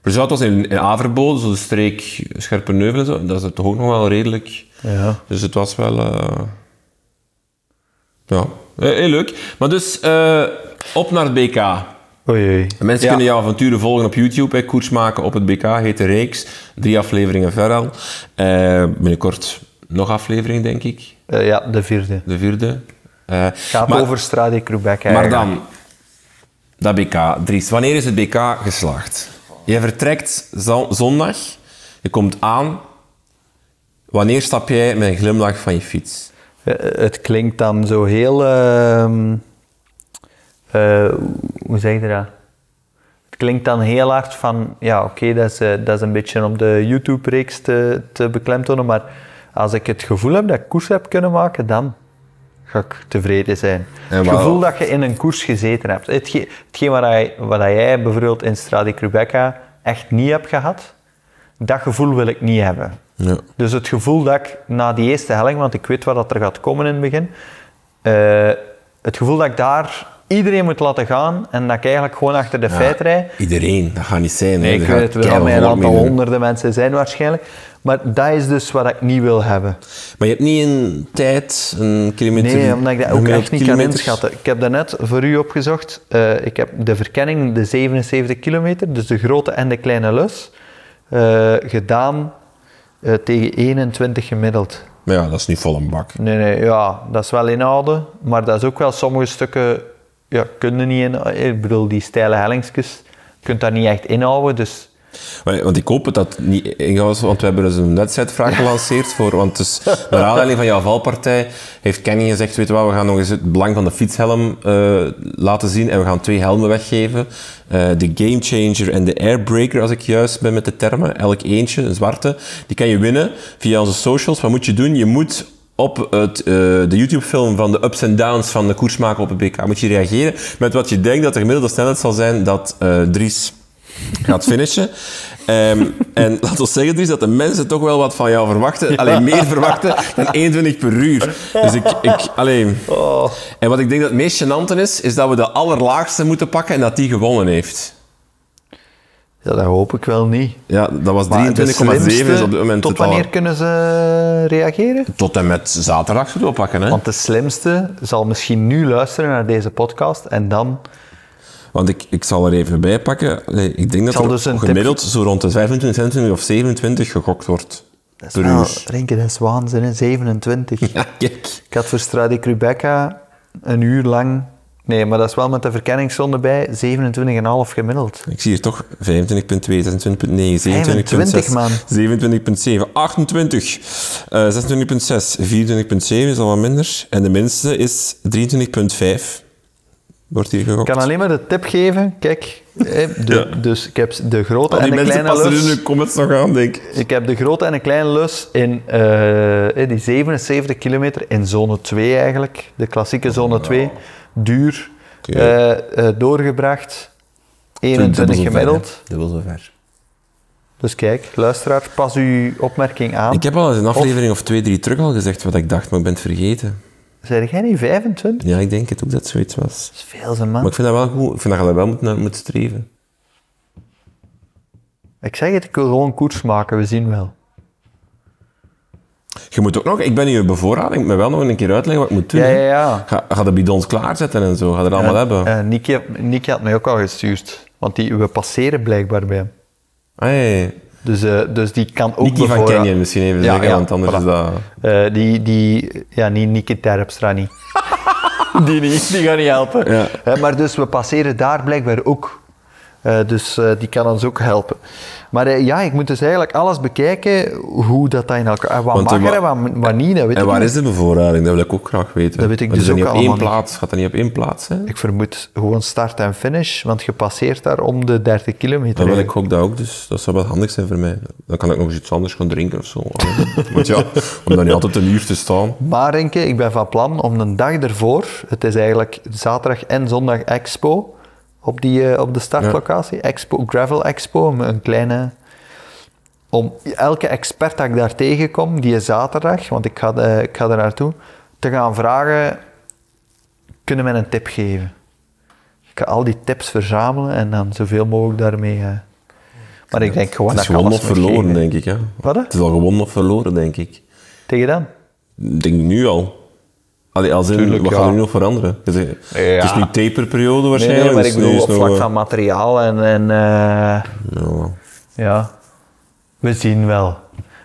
S1: Maar zo, het was in, in Averbo, zo de streek Scherpenheuvel en zo. en Dat is er toch ook nog wel redelijk.
S2: Ja.
S1: Dus het was wel... eh, Ja, eh, heel leuk. Maar dus, eh, op naar het BK.
S2: Oei, oei.
S1: Mensen
S2: Ja.
S1: kunnen jouw avonturen volgen op YouTube. Hè. Koers maken op het BK heet de reeks. Drie afleveringen ver al. Eh, binnenkort nog aflevering, denk ik.
S2: Eh, ja, de vierde.
S1: De vierde. Eh,
S2: Gaat
S1: maar-
S2: over Strade Quebec
S1: maar
S2: eigenlijk.
S1: dan, dat BK. Dries, wanneer is het BK geslaagd? Je vertrekt zo- zondag, je komt aan. Wanneer stap jij met een glimlach van je fiets?
S2: Eh, Het klinkt dan zo heel. ehm, eh, hoe zeg je dat? Het klinkt dan heel hard van. Ja, oké, dat, is, eh, dat is een beetje om de YouTube-reeks te, te beklemtonen. Maar als ik het gevoel heb dat ik koers heb kunnen maken, dan ga ik tevreden zijn.
S1: En
S2: het
S1: waar-
S2: gevoel dat je in een koers gezeten hebt. Hetge- hetgeen wat jij, wat jij bijvoorbeeld in Strade Quebecca echt niet hebt gehad, dat gevoel wil ik niet hebben.
S1: Ja.
S2: Dus het gevoel dat ik na die eerste helling, want ik weet wat dat er gaat komen in het begin, eh, het gevoel dat ik daar iedereen moet laten gaan en dat ik eigenlijk gewoon achter de feit rijd.
S1: Iedereen, dat gaat niet zijn. hè.
S2: Nee, ik
S1: Er gaat
S2: weet wel,
S1: keihard
S2: mijn
S1: volk
S2: aantal
S1: meedoen.
S2: honderden mensen zijn waarschijnlijk. Maar dat is dus wat ik niet wil hebben.
S1: Maar je hebt niet een tijd, een kilometer...
S2: Nee, omdat ik dat ook
S1: gemiddeld
S2: echt niet kan
S1: kilometers?
S2: inschatten. Ik heb daarnet voor u opgezocht, eh, ik heb de verkenning, de 77 kilometer, dus de grote en de kleine lus, eh, gedaan eh, tegen 21 gemiddeld.
S1: Maar ja, dat is niet vol een bak.
S2: Nee, nee, ja, dat is wel inhouden, maar dat is ook wel sommige stukken, ja, kunnen niet in. eh, Ik bedoel, die steile hellingsjes, je kunt dat niet echt inhouden, dus
S1: Maar- Want ik hoop het dat het niet ingaat, want we hebben dus een wedstrijdvraag gelanceerd voor... Want dus, naar aanleiding van jouw valpartij heeft Kenny gezegd, weet je wat, we gaan nog eens het belang van de fietshelm eh, laten zien en we gaan twee helmen weggeven. Eh, de Game Changer en de Airbreaker, als ik juist ben met de termen. Elk eentje, een zwarte. Die kan je winnen via onze socials. Wat moet je doen? Je moet op het, eh, de YouTube-film van de ups en downs van de koersmaker op het BK moet je reageren met wat je denkt dat de gemiddelde snelheid zal zijn dat eh, Dries gaat finishen. Ehm, en laat ons zeggen, Dries, dat de mensen toch wel wat van jou verwachten. Alleen meer verwachten dan 21 per uur. Dus ik... ik alleen.
S2: Oh.
S1: En wat ik denk dat het meest gênante is, is dat we de allerlaagste moeten pakken en dat die gewonnen heeft.
S2: ja, dat hoop ik wel niet.
S1: Ja, dat was 23,7
S2: Maar de
S1: is
S2: slimste,
S1: op dit moment
S2: Tot
S1: het aller-
S2: wanneer kunnen ze reageren?
S1: Tot en met zaterdag zullen we pakken, hè?
S2: Want de slimste zal misschien nu luisteren naar deze podcast en dan...
S1: Want ik, ik zal er even bij pakken. Nee, ik denk dat
S2: zal
S1: er
S2: dus een
S1: gemiddeld zo rond de 25, 26 of 27 gegokt wordt
S2: Dat is
S1: per
S2: wel-
S1: uur.
S2: Renke, dat is waanzin, hè, 27.
S1: Ja, kijk.
S2: Ik had voor Strade Quebecca een uur lang... Nee, maar dat is wel met de verkenningszone bij, 27,5 gemiddeld.
S1: Ik zie hier toch 25.2, 26.9, 27.6,
S2: 25, man.
S1: 27.7, 28, eh 26.6, 24.7 is al wat minder. En de minste is 23.5. Wordt hier gegokt.
S2: Ik kan alleen maar de tip geven, kijk. hè, de- Dus ik heb de grote
S1: Al
S2: en
S1: die
S2: de
S1: mensen
S2: kleine
S1: passen
S2: lus.
S1: er in de comments nog aan, denk ik.
S2: Ik heb de grote en de kleine lus in eh, eh, die 77 kilometer in zone 2 eigenlijk. De klassieke zone 2. Duur.
S1: Oh, Oké.
S2: eh, eh, doorgebracht. 21 gemiddeld.
S1: Dubbel zo ver.
S2: Dus kijk, luisteraar, pas uw opmerking aan.
S1: Ik heb al eens een aflevering of twee, drie terug al gezegd wat ik dacht, maar ik ben het vergeten.
S2: Zijn jij niet 25?
S1: Ja, ik denk het ook dat zoiets was.
S2: Dat is veel, zijn man.
S1: Maar ik vind dat wel goed. Ik vind dat je daar wel moet naar moet streven.
S2: Ik zeg het, ik wil gewoon koers maken, we zien wel.
S1: Je moet ook nog... Ik ben nu in bevoorrading. Ik moet wel nog een keer uitleggen wat ik moet doen.
S2: Ja,
S1: hè.
S2: ja, ja.
S1: Ga, ga de bidons klaarzetten en zo. Ga dat allemaal hebben.
S2: Eh, Nicky, Nicky had mij ook al gestuurd. Want die, we passeren blijkbaar bij hem.
S1: Hey,
S2: Dus, eh, dus die kan ook
S1: Nicky van
S2: bevoorraad-
S1: Kenyon misschien even
S2: Ja,
S1: zeggen,
S2: ja,
S1: want anders
S2: voilà.
S1: is dat...
S2: Eh, die, die, ja, niet Nicky Terpstra niet. die niet, die gaat niet helpen.
S1: Ja.
S2: Hè, maar dus we passeren daar blijkbaar ook. Eh, dus eh, die kan ons ook helpen. Maar eh, ja, ik moet dus eigenlijk alles bekijken hoe dat, dat in elkaar... eh, wat
S1: Want, eh,
S2: mag er en
S1: wa-
S2: wat, wat niet, dat weet
S1: En
S2: ik
S1: waar
S2: niet.
S1: is de bevoorrading? Dat wil ik ook graag weten.
S2: Dat weet ik
S1: Want is
S2: dus
S1: dat niet
S2: ook
S1: op één
S2: allemaal niet.
S1: plaats. Gaat dat niet op één plaats zijn?
S2: Ik vermoed gewoon start en finish, want je passeert daar om de 30 kilometer.
S1: Dan wil ik
S2: eigenlijk.
S1: ook dat ook, dus dat zou wel handig zijn voor mij. Dan kan ik nog eens iets anders gaan drinken of zo. Want ja, om dan niet altijd een uur te staan.
S2: Maar Renke, ik ben van plan om een dag ervoor, het is eigenlijk zaterdag en zondag Expo, op, die, eh, op de startlocatie, Expo, Gravel Expo, een- een kleine... Om elke expert dat ik daar tegenkom, die is zaterdag, want ik ga, eh, ik ga er naartoe, te gaan vragen, kunnen men een tip geven? Ik ga al die tips verzamelen en dan zoveel mogelijk daarmee... eh, maar ik denk gewoon
S1: Het is
S2: dat ik
S1: gewoon
S2: alles
S1: of verloren,
S2: moet geven.
S1: denk ik. Hè?
S2: Wat, hè?
S1: Het is al gewoon of verloren, denk ik.
S2: Tegen dan?
S1: Ik denk nu al. Allee, als in,
S2: Tuurlijk,
S1: wat
S2: ja.
S1: gaat er nu nog veranderen? Het is, het is nu taperperiode
S2: Nee,
S1: waarschijnlijk.
S2: nee, maar
S1: dus
S2: ik
S1: nu
S2: bedoel
S1: is
S2: op
S1: nog
S2: vlak
S1: wel-
S2: van materiaal en... en eh,
S1: Ja.
S2: Ja. We zien wel.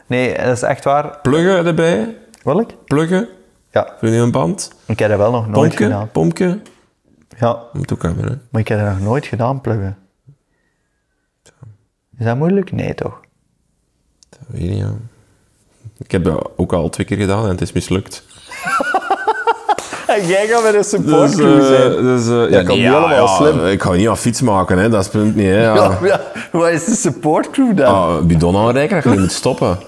S2: Nee, dat is echt waar.
S1: Pluggen erbij.
S2: Wil ik?
S1: Pluggen.
S2: Ja.
S1: Vind je een band?
S2: Ik heb dat wel nog nooit
S1: Pompje.
S2: gedaan.
S1: Pompje.
S2: Ja,
S1: Moet ook hebben, hè.
S2: maar ik heb dat nog nooit gedaan, pluggen. Is dat moeilijk? Nee, toch?
S1: Dat weet ik niet, ja. Ik heb dat ook al twee keer gedaan en het is mislukt.
S2: Jij gaat met een
S1: Dus, eh, dus, eh, ja,
S2: kan
S1: nee,
S2: niet
S1: ja,
S2: allemaal
S1: ja,
S2: slim.
S1: Ik ga niet aan fiets maken, hè. dat is het punt niet. Hè, ja.
S2: Ja, ja. Wat is de supportcrew dan?
S1: Ah, bidon aanreiken, dat je niet moet stoppen.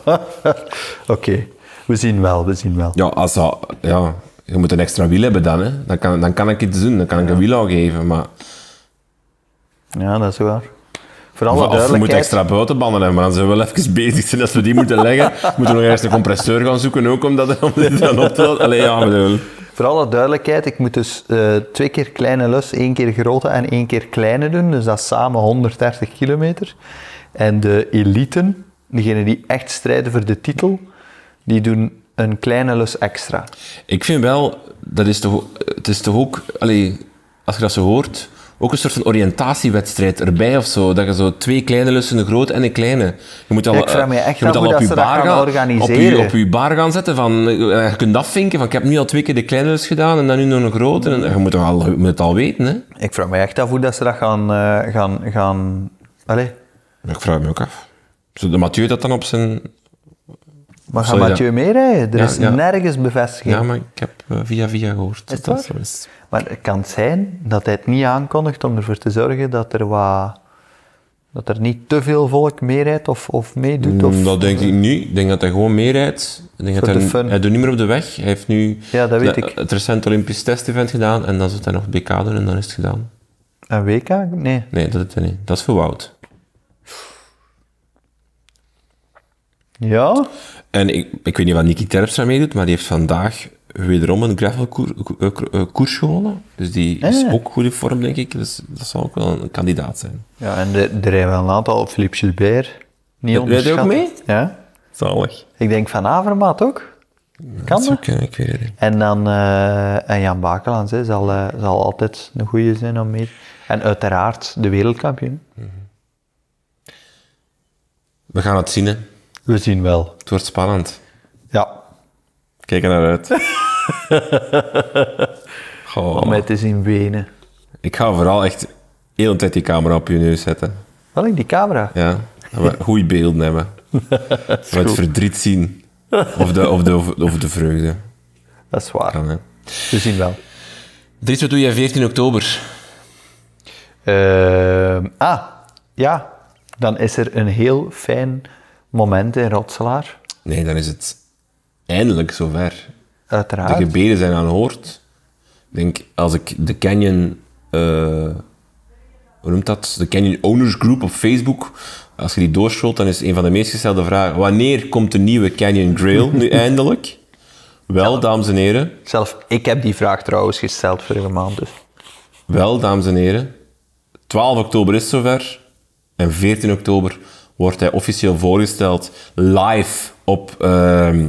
S2: Oké, we zien wel, we zien wel.
S1: Ja, als dat... Ja. Je moet een extra wiel hebben dan, hè. Dan kan, dan kan ik iets doen, dan kan ik een wiel geven, maar...
S2: Ja, dat is waar. Voor alle
S1: Of we moeten
S2: duidelijkheid,
S1: extra buitenbanden hebben, maar dan zijn we wel even bezig zijn als we die moeten leggen. moeten we nog eerst een compressor gaan zoeken ook, om dat om dit dan op te laden. Allee, ja, bedoel.
S2: voor alle duidelijkheid, ik moet dus eh, twee keer kleine lus, één keer grote en één keer kleine doen. Dus dat is samen 130 kilometer. En de eliten, degenen die echt strijden voor de titel, die doen een kleine lus extra.
S1: Ik vind wel, dat is toch, het is toch ook, allee, als je dat zo hoort, ook een soort van oriëntatiewedstrijd erbij of zo. Dat je zo twee kleine lussen, een groot en een kleine. Je moet al,
S2: Ik vraag me
S1: eh,
S2: echt
S1: je moet
S2: af
S1: al
S2: hoe
S1: op
S2: dat
S1: je
S2: ze dat
S1: bar
S2: gaan
S1: gaan Op
S2: organiseren.
S1: je, op je bar gaan zetten van, eh, je kunt afvinken van, ik heb nu al twee keer de kleine lus gedaan en dan nu nog een grote. En, je moet, toch al, je moet het al weten, hè.
S2: Ik vraag me echt af hoe dat ze dat gaan... eh, gaan, gaan... Allee,
S1: Ik vraag me ook af. Zou de Mathieu dat dan op zijn...
S2: maar gaat
S1: Sorry,
S2: Mathieu meerijden? Er
S1: Ja,
S2: is
S1: ja.
S2: nergens bevestiging.
S1: Ja, maar ik heb eh, via via gehoord.
S2: Is het
S1: dat
S2: waar?
S1: zo is.
S2: Maar het kan zijn dat hij het niet aankondigt om ervoor te zorgen dat er wat... Dat er niet te veel volk meerijdt of, of meedoet. Of,
S1: Mm, Dat denk ik niet. Ik denk dat hij gewoon meerijdt. Ik denk dat
S2: Voor de
S1: hij,
S2: fun.
S1: hij doet niet meer op de weg. Hij heeft nu
S2: Ja, dat weet
S1: de-
S2: ik.
S1: het recente Olympisch testevent gedaan en dan zult hij nog BK doen en dan is het gedaan.
S2: Een WK? Nee.
S1: Nee, dat doet hij niet. Dat is voor Wout.
S2: Ja?
S1: En ik, ik weet niet wat Nicky Terpstra meedoet, maar die heeft vandaag wederom een gravelkoers eh, ko- eh, koers gewonnen. Dus die is
S2: Ah.
S1: ook goed in vorm, denk ik. Dus dat zal ook wel een kandidaat zijn.
S2: Ja, en er, er rijden wel een aantal. Philippe Gilbert. Niet
S1: Rijdt hij ook
S2: onderschatten.
S1: mee?
S2: Ja.
S1: Zalig.
S2: Ik denk Van Avermaat ook. Kan dat?
S1: Zoeken, eh, ik weet het niet.
S2: En dan eh, en Jan Bakelands hè, zal, eh, zal altijd een goede zijn om mee. En uiteraard de wereldkampioen.
S1: We gaan het zien, hè.
S2: We zien wel.
S1: Het wordt spannend.
S2: Ja.
S1: Kijk er naar uit. Goh.
S2: Om mij te zien wenen.
S1: Ik ga vooral echt de hele tijd die camera op je neus zetten.
S2: Wel in die camera.
S1: Ja. Dat we goede beelden hebben. Dat we het verdriet zien. Of de, of de, of de vreugde.
S2: Dat is waar.
S1: Kan, hè.
S2: We zien wel.
S1: Dries, wat doe jij 14 oktober?
S2: Ehm, ah, ja. Dan is er een heel fijn moment in Rotselaar.
S1: Nee, dan is het eindelijk zover. De
S2: Uiteraard.
S1: gebeden zijn aan hoort. Ik denk, als ik de Canyon... eh, hoe noemt dat? De Canyon Owners Group op Facebook... Als je die doorscrollt, dan is een van de meest gestelde vragen... Wanneer komt de nieuwe Canyon Grail nu eindelijk? Wel, dames en heren...
S2: Zelf, ik heb die vraag trouwens gesteld vorige maand. Dus.
S1: Wel, dames en heren, 12 oktober is het zover. En 14 oktober wordt hij officieel voorgesteld live op, ehm,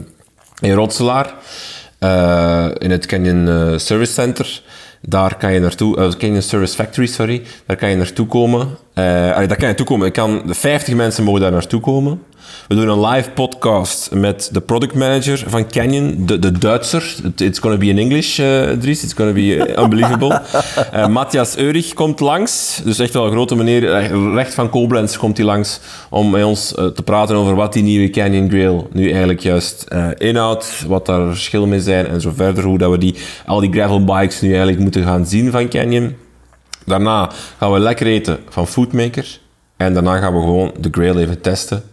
S1: in Rotselaar. eh, in het Canyon eh, Service Center. Daar kan je naartoe, eh, Canyon Service Factory, sorry. Daar kan je naartoe komen. Eh, allee, daar kan je naartoe komen. Ik kan, 50 mensen mogen daar naartoe komen. We doen een live podcast met de product manager van Canyon, de, de Duitser. It- It's gonna be in English, eh, Dries. It's gonna be unbelievable. Eh, Matthias Eurig komt langs. Dus echt wel een grote meneer. eh, Recht van Koblenz komt hij langs om met ons eh, te praten over wat die nieuwe Canyon Grail nu eigenlijk juist eh, inhoudt. Wat daar verschillen mee zijn en zo verder. Hoe dat we die, al die gravelbikes nu eigenlijk moeten gaan zien van Canyon. Daarna gaan we lekker eten van Foodmaker. En daarna gaan we gewoon de Grail even testen.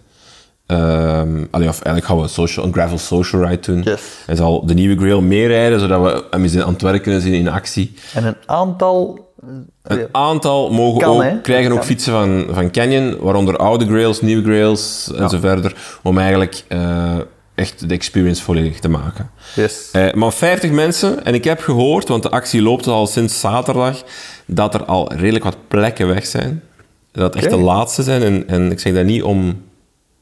S1: Ehm, allee, of eigenlijk gaan we een, social, een gravel social ride doen.
S2: Yes.
S1: En zal de nieuwe Grail meer rijden, zodat we hem eens in Antwerpen kunnen zien in actie.
S2: En een aantal... eh,
S1: Een aantal mogen
S2: Kan,
S1: ook,
S2: hè?
S1: krijgen ook
S2: Kan.
S1: fietsen van, van Canyon, waaronder oude Grails, nieuwe Grails en zo verder. Om eigenlijk eh, echt de experience volledig te maken.
S2: Yes.
S1: Eh, maar 50 mensen, en ik heb gehoord, want de actie loopt al sinds zaterdag, dat er al redelijk wat plekken weg zijn. Dat echt
S2: Oké.
S1: de laatste zijn. En, en ik zeg dat niet om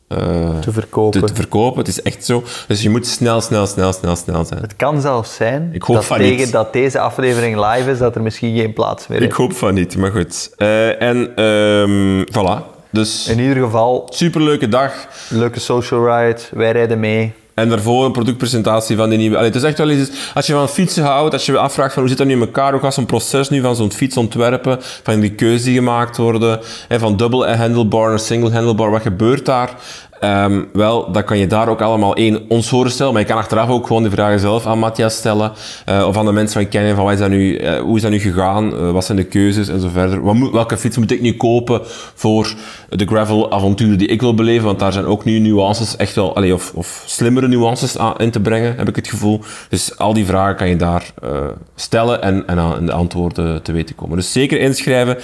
S1: eh,
S2: Te verkopen.
S1: te, te verkopen, het is echt zo. Dus je moet snel, snel, snel, snel, snel zijn.
S2: Het kan zelfs zijn
S1: Ik hoop
S2: dat,
S1: van
S2: tegen
S1: niet.
S2: dat deze aflevering live is, dat er misschien geen plaats meer
S1: Ik
S2: is.
S1: hoop van niet, maar goed. Eh, en ehm, voilà. Dus
S2: In ieder geval,
S1: superleuke dag.
S2: leuke social ride, wij rijden mee.
S1: En daarvoor een productpresentatie van die nieuwe. Allee, het is echt wel eens. Als je van fietsen houdt, als je je afvraagt van hoe zit dat nu in elkaar, hoe gaat zo'n proces nu van zo'n fiets ontwerpen, van die keuzes die gemaakt worden, hè, van dubbel handlebar naar single handlebar, wat gebeurt daar? Eh, Ehm, wel, dan kan je daar ook allemaal één ons horen stellen, maar je kan achteraf ook gewoon de vragen zelf aan Matthias stellen eh, of aan de mensen van je kennen van wat is dat nu, eh, hoe is dat nu gegaan, Eh, wat zijn de keuzes en zo verder. Wat moet- welke fiets moet ik nu kopen voor de gravel avonturen die ik wil beleven, want daar zijn ook nu nuances echt wel, allee, of, of slimmere nuances aan, in te brengen, heb ik het gevoel. Dus al die vragen kan je daar eh, stellen en, en aan de antwoorden te weten komen. Dus zeker inschrijven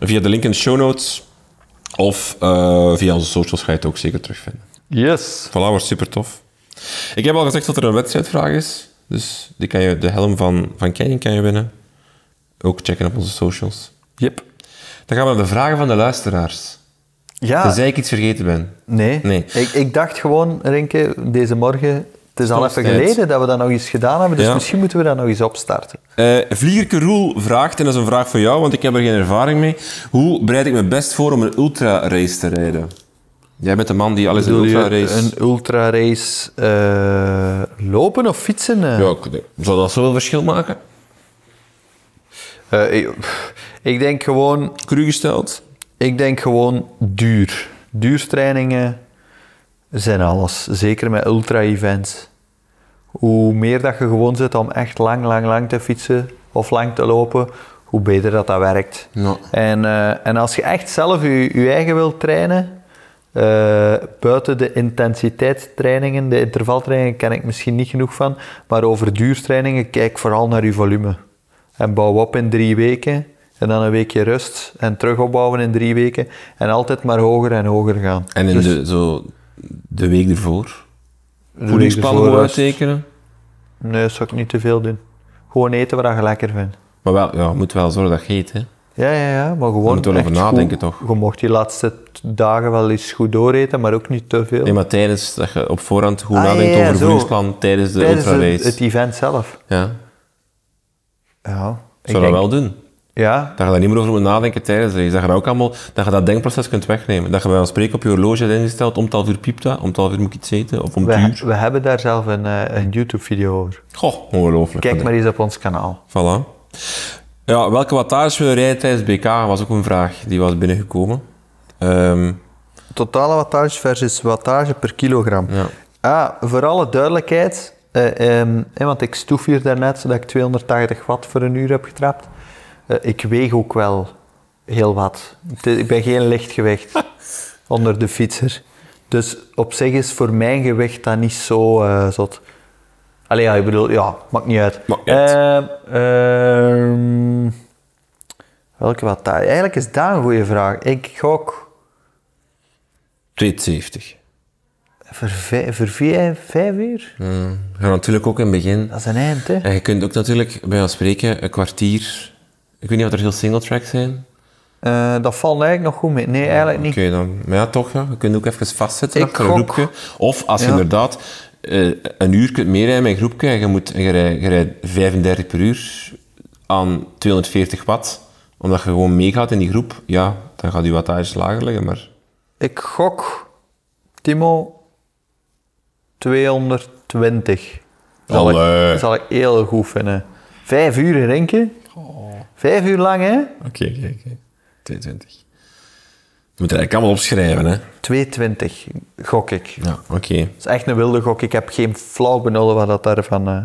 S1: via de link in de show notes. Of eh, via onze socials ga je het ook zeker terugvinden.
S2: Yes.
S1: Voilà, wordt super tof. Ik heb al gezegd dat er een wedstrijdvraag is. Dus die kan je, de helm van, van Canyon kan je winnen. Ook checken op onze socials.
S2: Yep.
S1: Dan gaan we naar de vragen van de luisteraars.
S2: Ja.
S1: Tenzij ik iets vergeten ben.
S2: Nee.
S1: Nee.
S2: Ik, ik dacht gewoon, Renke, deze morgen, het is al even
S1: Stomstijd.
S2: geleden dat we dat nog eens gedaan hebben, dus
S1: Ja.
S2: misschien moeten we dat nog eens opstarten.
S1: Eh Vliegerke Roel vraagt, en dat is een vraag voor jou, want ik heb er geen ervaring mee. Hoe bereid ik me best voor om een ultra-race te rijden? Jij bent de man die al eens een ultra-race...
S2: een ultrarace eh, lopen of fietsen? eh?
S1: Ja, ik denk- zou dat zoveel verschil maken?
S2: Eh, ik, pff, ik denk gewoon,
S1: Cru gesteld?
S2: ik denk gewoon duur. Duurtrainingen zijn alles, zeker met ultra-events. Hoe meer dat je gewoon zit om echt lang, lang, lang te fietsen of lang te lopen, hoe beter dat dat werkt.
S1: Ja.
S2: En, eh, en als je echt zelf je, je eigen wilt trainen, eh, buiten de intensiteitstrainingen, de intervaltrainingen ken ik misschien niet genoeg van, maar over duurtrainingen kijk vooral naar je volume. En bouw op in drie weken, en dan een weekje rust, en terug opbouwen in drie weken, en altijd maar hoger en hoger gaan. Dus
S1: En in de, zo, Dus- de week ervoor?
S2: De
S1: Voedingsplannen
S2: week
S1: moet
S2: ervoor rust.
S1: uittekenen.
S2: Nee, dat zou ik niet te veel doen. Gewoon eten wat je lekker vindt.
S1: Maar wel, ja, je moet wel zorgen dat je eet, hè.
S2: Ja, ja, ja, maar
S1: Je
S2: gewoon
S1: moet wel over
S2: echt
S1: nadenken,
S2: goed-
S1: toch?
S2: Je mocht die laatste t- dagen wel eens goed dooreten, maar ook niet te veel.
S1: Nee, maar tijdens dat je op voorhand goed
S2: Ah,
S1: nadenkt
S2: ja, ja,
S1: over het
S2: zo.
S1: voedingsplan tijdens de
S2: Tijdens
S1: ultra
S2: het,
S1: race.
S2: het event zelf.
S1: Ja,
S2: Ja. ik
S1: zou dat
S2: denk-
S1: wel doen.
S2: Ja,
S1: Dat je daar niet meer over moet nadenken tijdens de race. Dat je, daar ook allemaal, dat, je dat denkproces kunt wegnemen. Dat je bij ons spreken op je horloge hebt ingesteld, om het half uur piept dat, om het half uur moet ik iets eten, of om het
S2: we,
S1: uur.
S2: we hebben daar zelf een, eh, een YouTube-video over.
S1: Goh, ongelooflijk.
S2: Kijk maar eens op ons kanaal.
S1: Voilà. Ja, welke wattage wil je rijden tijdens BK was ook een vraag die was binnengekomen. Ehm,
S2: Totale wattage versus wattage per kilogram.
S1: Ja.
S2: Ah, voor alle duidelijkheid, eh, ehm, hè, want ik stoef hier daarnet zodat ik 280 watt voor een uur heb getrapt. Eh, ik weeg ook wel heel wat. Het is- ik ben geen lichtgewicht onder de fietser. Dus op zich is voor mijn gewicht dat niet zo eh, zot. Allee, ja, ik bedoel, ja, maakt niet uit.
S1: Maakt niet uit.
S2: Ehm, ehm, welke wattage? Eigenlijk is dat een goede vraag. Ik gok...
S1: 270.
S2: Voor vijf, voor vijf, vijf uur?
S1: Ja, natuurlijk ook in het begin.
S2: Dat is een eind, hè?
S1: En Eh, je kunt ook natuurlijk, bij ons spreken, een kwartier... Ik weet niet of er heel single tracks zijn.
S2: Eh, dat valt eigenlijk nog goed mee. Nee, eigenlijk niet.
S1: Oké, dan... Maar ja, toch, ja. Je kunt ook even vastzitten
S2: Ik
S1: achter een
S2: gok-
S1: groepje. Of als je
S2: Ja.
S1: inderdaad eh, een uur kunt meerijden met een groepje en je, moet, en je, rijdt, je rijdt 35 per uur aan 240 watt, omdat je gewoon meegaat in die groep, ja, dan gaat die wattage lager liggen, maar...
S2: Ik gok, Timo, 220. Zal ik-
S1: Allee.
S2: zal ik heel goed vinden. Vijf uur in Rinken.
S1: Oh.
S2: Vijf uur lang, hè?
S1: Oké, oké, oké. 220. Je moet het eigenlijk allemaal opschrijven, hè.
S2: 220, gok ik.
S1: Ja, oké.
S2: Dat is echt een wilde gok. Ik heb geen flauw benul wat dat daarvan... eh,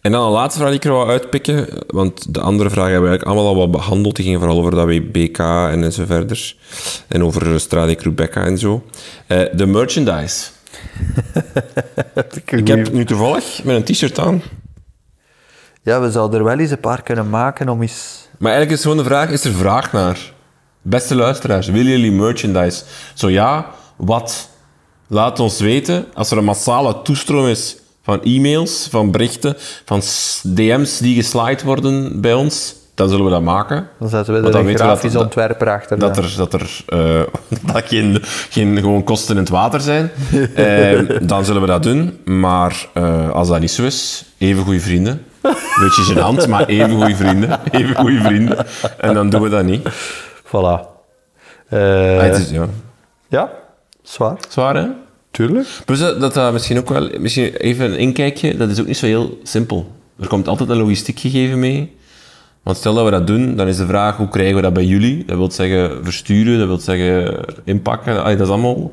S1: En dan een laatste vraag die ik er wel uitpikken, want de andere vragen hebben we eigenlijk allemaal al wat behandeld. Die gingen vooral over dat WBK en zo verder. En over Strade Rebecca en zo. Eh, de merchandise. Ik heb nu toevallig met een t-shirt aan.
S2: Ja, we zouden er wel eens een paar kunnen maken om eens...
S1: Maar eigenlijk is gewoon de vraag, is er vraag naar? Beste luisteraars, willen jullie merchandise? Zo ja, wat? Laat ons weten. Als er een massale toestroom is van e-mails, van berichten, van s- DM's die geslaaid worden bij ons, dan zullen we dat maken.
S2: Dan zetten we
S1: Want dan
S2: er een
S1: weten we dat-
S2: grafisch
S1: dat-
S2: ontwerper achter.
S1: Dat
S2: dan.
S1: er, dat er eh, dat geen, geen gewoon kosten in het water zijn. Eh, dan zullen we dat doen. Maar eh, als dat niet zo is, even goede vrienden. Beetje gênant, maar even goede vrienden. Even goede vrienden. En dan doen we dat niet.
S2: Voilà. Eh,
S1: Ah, het Ah, is, ja.
S2: Ja, zwaar.
S1: Zwaar, hè?
S2: Tuurlijk.
S1: Plus dat dat eh, misschien ook wel... Misschien even een inkijkje. Dat is ook niet zo heel simpel. Er komt altijd een logistiek gegeven mee. Want stel dat we dat doen, dan is de vraag hoe krijgen we dat bij jullie? Dat wil zeggen versturen, dat wil zeggen inpakken. Allee, dat is allemaal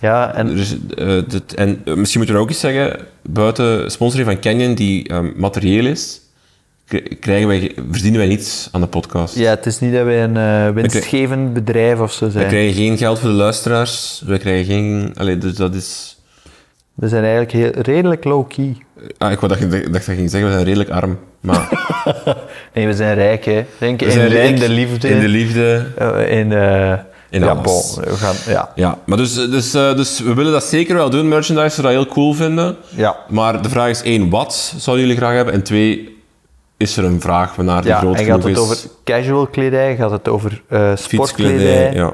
S2: Ja, en
S1: Dus, eh, dit- en eh, misschien moeten we ook eens zeggen, buiten sponsoring van Canyon, die ehm, materieel is, k- krijgen wij, ge- verdienen wij niets aan de podcast.
S2: ja, het is niet dat wij een eh, winstgevend bedrijf of zo
S1: Wij
S2: zijn.
S1: krijgen geen geld voor de luisteraars, wij krijgen geen... Allee, dus dat is...
S2: We zijn eigenlijk heel, redelijk low-key.
S1: Ah, ik wou dat je dacht dat je ging zeggen, we zijn redelijk arm, maar...
S2: Nee, we zijn rijk, hè. Denk
S1: we
S2: in,
S1: zijn rijk
S2: in de liefde.
S1: In de liefde.
S2: Eh, in, eh,
S1: In
S2: ja,
S1: alles.
S2: bon, we gaan, ja.
S1: Ja, maar dus, dus, eh, dus we willen dat zeker wel doen, merchandise, we dat heel cool vinden.
S2: Ja.
S1: Maar de vraag is één, wat zouden jullie graag hebben? En twee, is er een vraag waarnaar die
S2: ja,
S1: groot
S2: en gaat
S1: genoeg
S2: het
S1: is?
S2: over casual kledij, gaat het over eh sportkledij,
S1: Fietskledij, ja.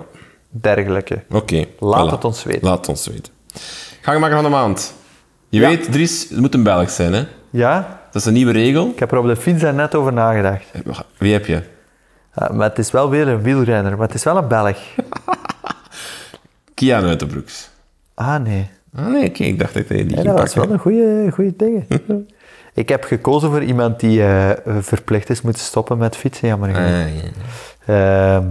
S2: dergelijke.
S1: Oké.
S2: Laat
S1: voilà.
S2: het ons weten.
S1: Laat het ons weten. Gangmaker van de maand. Je
S2: Ja.
S1: weet, Dries, het moet een Belg zijn, hè?
S2: Ja,
S1: Dat is een nieuwe regel. Eh,
S2: ik heb er op de fiets net over nagedacht.
S1: Wie heb je?
S2: Ja, maar het is wel weer een wielrenner, maar het is wel een Belg.
S1: Kian uit de Broeks.
S2: Ah, nee.
S1: Ah nee, oké, ik dacht dat ik die
S2: Ja,
S1: ging
S2: dat was
S1: pakken.
S2: wel een goede, goede ding.
S1: Hm?
S2: ik heb gekozen voor iemand die eh, verplicht is moeten stoppen met fietsen, jammer genoeg.
S1: Ah, ja.
S2: Ehm,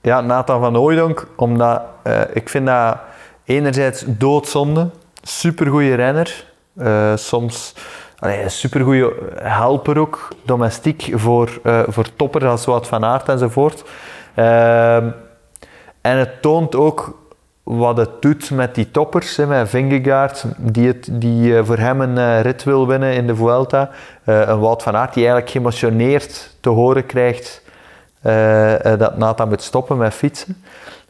S2: ja, Nathan van Ooydonk, omdat eh, ik vind dat enerzijds doodzonde, supergoeie renner, eh, soms allee, een supergoeie helper ook, domestiek voor, eh voor toppers als Wout van Aert enzovoort. Ehm, en het toont ook wat het doet met die toppers, hè, met Vingegaard, die, het, die eh, voor hem een eh, rit wil winnen in de Vuelta. Eh, een Wout van Aert die eigenlijk geëmotioneerd te horen krijgt eh, eh, dat Nathan moet stoppen met fietsen.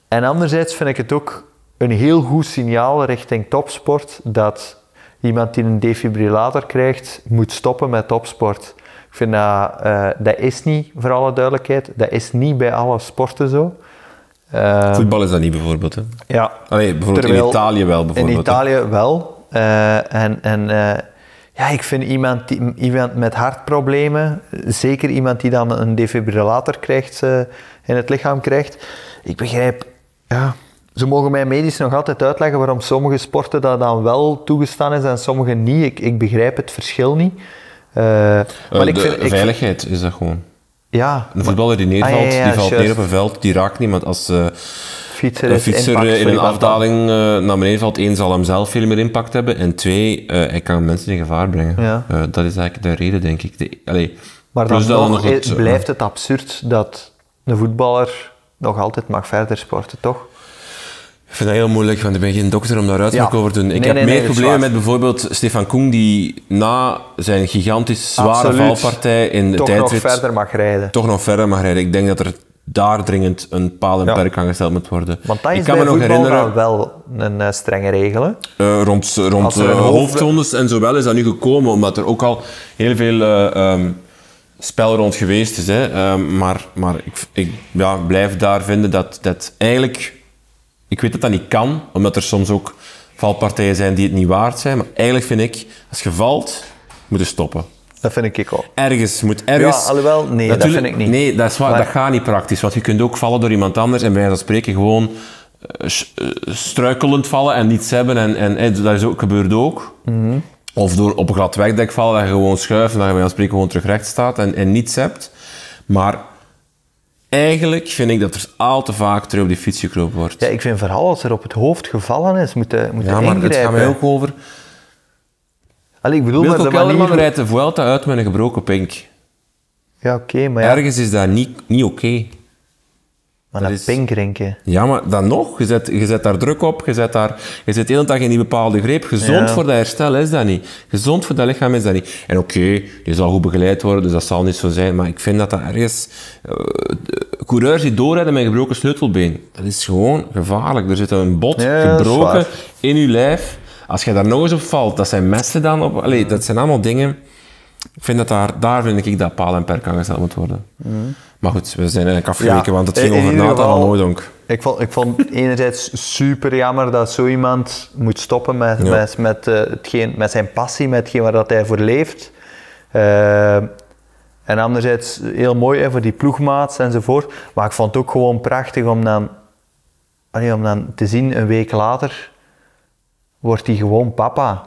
S2: En anderzijds vind ik het ook een heel goed signaal richting topsport dat iemand die een defibrillator krijgt moet stoppen met topsport. Ik vind dat, eh, dat is niet, voor alle duidelijkheid, dat is niet bij alle sporten zo. Eh,
S1: Voetbal is dat niet bijvoorbeeld, hè?
S2: ja,
S1: Allee, bijvoorbeeld in
S2: Terwijl-
S1: Italië wel, bijvoorbeeld.
S2: in
S1: hè?
S2: Italië wel. Eh, en en eh, ja, ik vind iemand, die, iemand met hartproblemen, zeker iemand die dan een defibrillator krijgt, eh, in het lichaam krijgt. Ik begrijp, ja, ze mogen mij medisch nog altijd uitleggen waarom sommige sporten dat dan wel toegestaan is en sommige niet. Ik, ik begrijp het verschil niet. Eh,
S1: Eh,
S2: maar ik
S1: de
S2: vind, ik,
S1: veiligheid is dat gewoon.
S2: ja,
S1: Een voetballer die neervalt,
S2: Ah, ja, ja,
S1: die valt
S2: juist.
S1: neer op een veld, die raakt niemand. Als eh,
S2: fietser
S1: een
S2: is
S1: fietser
S2: impact
S1: eh, in
S2: voor
S1: een
S2: iemand dan.
S1: afdaling eh, naar beneden valt, één zal hem zelf veel meer impact hebben en twee, eh, hij kan mensen in gevaar brengen.
S2: Ja.
S1: Eh, dat is eigenlijk de reden, denk ik. De, allee,
S2: Maar dan
S1: plus dat
S2: nog,
S1: nog het, eh,
S2: i- blijft het absurd dat een voetballer nog altijd mag verder sporten, toch?
S1: Ik vind dat heel moeilijk, want ik ben geen dokter om daar uitspraak
S2: Ja.
S1: over te doen. Ik
S2: Nee,
S1: heb
S2: nee, nee,
S1: meer
S2: dat is
S1: problemen
S2: waar.
S1: met bijvoorbeeld Stefan Koen, die na zijn gigantisch zware
S2: Absoluut.
S1: valpartij in de
S2: Toch nog
S1: tijdrit
S2: verder mag rijden.
S1: toch nog verder mag rijden. Ik denk dat er daar dringend een paal en
S2: Ja.
S1: perk aan gesteld moet worden.
S2: Want dat
S1: ik
S2: is
S1: kan
S2: bij
S1: me nog
S2: voetbal
S1: herinneren,
S2: dan wel een eh, strenge regel. hè?
S1: eh, rond, rond
S2: Als er een
S1: eh,
S2: hoofd-
S1: hoofdrondes en zo wel is dat nu gekomen, omdat er ook al heel veel eh, ehm, spel rond geweest is. Hè. Ehm, maar maar ik, ik ja, blijf daar vinden dat, dat eigenlijk... Ik weet dat dat niet kan, omdat er soms ook valpartijen zijn die het niet waard zijn. Maar eigenlijk vind ik, als je valt, moet je stoppen.
S2: Dat vind ik ook.
S1: Ergens moet ergens.
S2: Ja, alhoewel, nee, dat
S1: Natuurlijk-
S2: vind ik niet.
S1: Nee, dat, is waar,
S2: Maar-
S1: dat gaat niet praktisch. Want je kunt ook vallen door iemand anders en bij wijze van spreken gewoon eh, s- eh, struikelend vallen en niets hebben. En, en, eh, dat is ook, gebeurt ook.
S2: Mhm.
S1: Of door op een glad wegdek vallen en gewoon schuiven en dat je bij wijze van spreken gewoon terug recht staat en, en niets hebt. Maar eigenlijk vind ik dat er al te vaak terug op die fiets gekropen wordt.
S2: Ja, ik vind vooral als er op het hoofd gevallen is, moet je, moet je
S1: Ja, maar het
S2: ingrijpen.
S1: gaat mij ook over...
S2: Allee, ik bedoel, maar
S1: Wilco
S2: de
S1: Kelderman
S2: manier...
S1: rijdt de Vuelta uit met een gebroken pink.
S2: Ja, oké, maar, ja,
S1: Ergens is dat niet, niet oké.
S2: maar dat
S1: is-
S2: pink drinken.
S1: Ja, maar dan nog. Je zet, je zet daar druk op. Je zet, daar, je zet de hele dag in die bepaalde greep. Gezond
S2: Ja.
S1: voor dat herstel is dat niet. Gezond voor dat lichaam is dat niet. En oké, je zal goed begeleid worden, dus dat zal niet zo zijn. Maar ik vind dat dat ergens... eh, eh, coureurs die doorrijden met een gebroken sleutelbeen. Dat is gewoon gevaarlijk. Er zit een bot
S2: Ja, dat is
S1: gebroken
S2: waar.
S1: in je lijf. Als je daar nog eens op valt, dat zijn messen dan op... Allee, dat zijn allemaal dingen... Ik vind dat daar, daar vind ik dat paal en perk aan gesteld moet worden. Maar goed, we zijn eigenlijk afgeweken,
S2: Mhm. Ja,
S1: want het
S2: in-
S1: ging
S2: in
S1: over
S2: ieder
S1: Nathan van
S2: geval-
S1: Hooijdonk.
S2: Ik vond, ik vond enerzijds super jammer dat zo iemand moet stoppen met, met, met, eh, hetgeen, met zijn passie, met hetgeen waar dat hij voor leeft. Eh, en anderzijds heel mooi hè, voor die ploegmaats enzovoort. Maar ik vond het ook gewoon prachtig om dan, allee, om dan te zien, een week later wordt hij gewoon papa.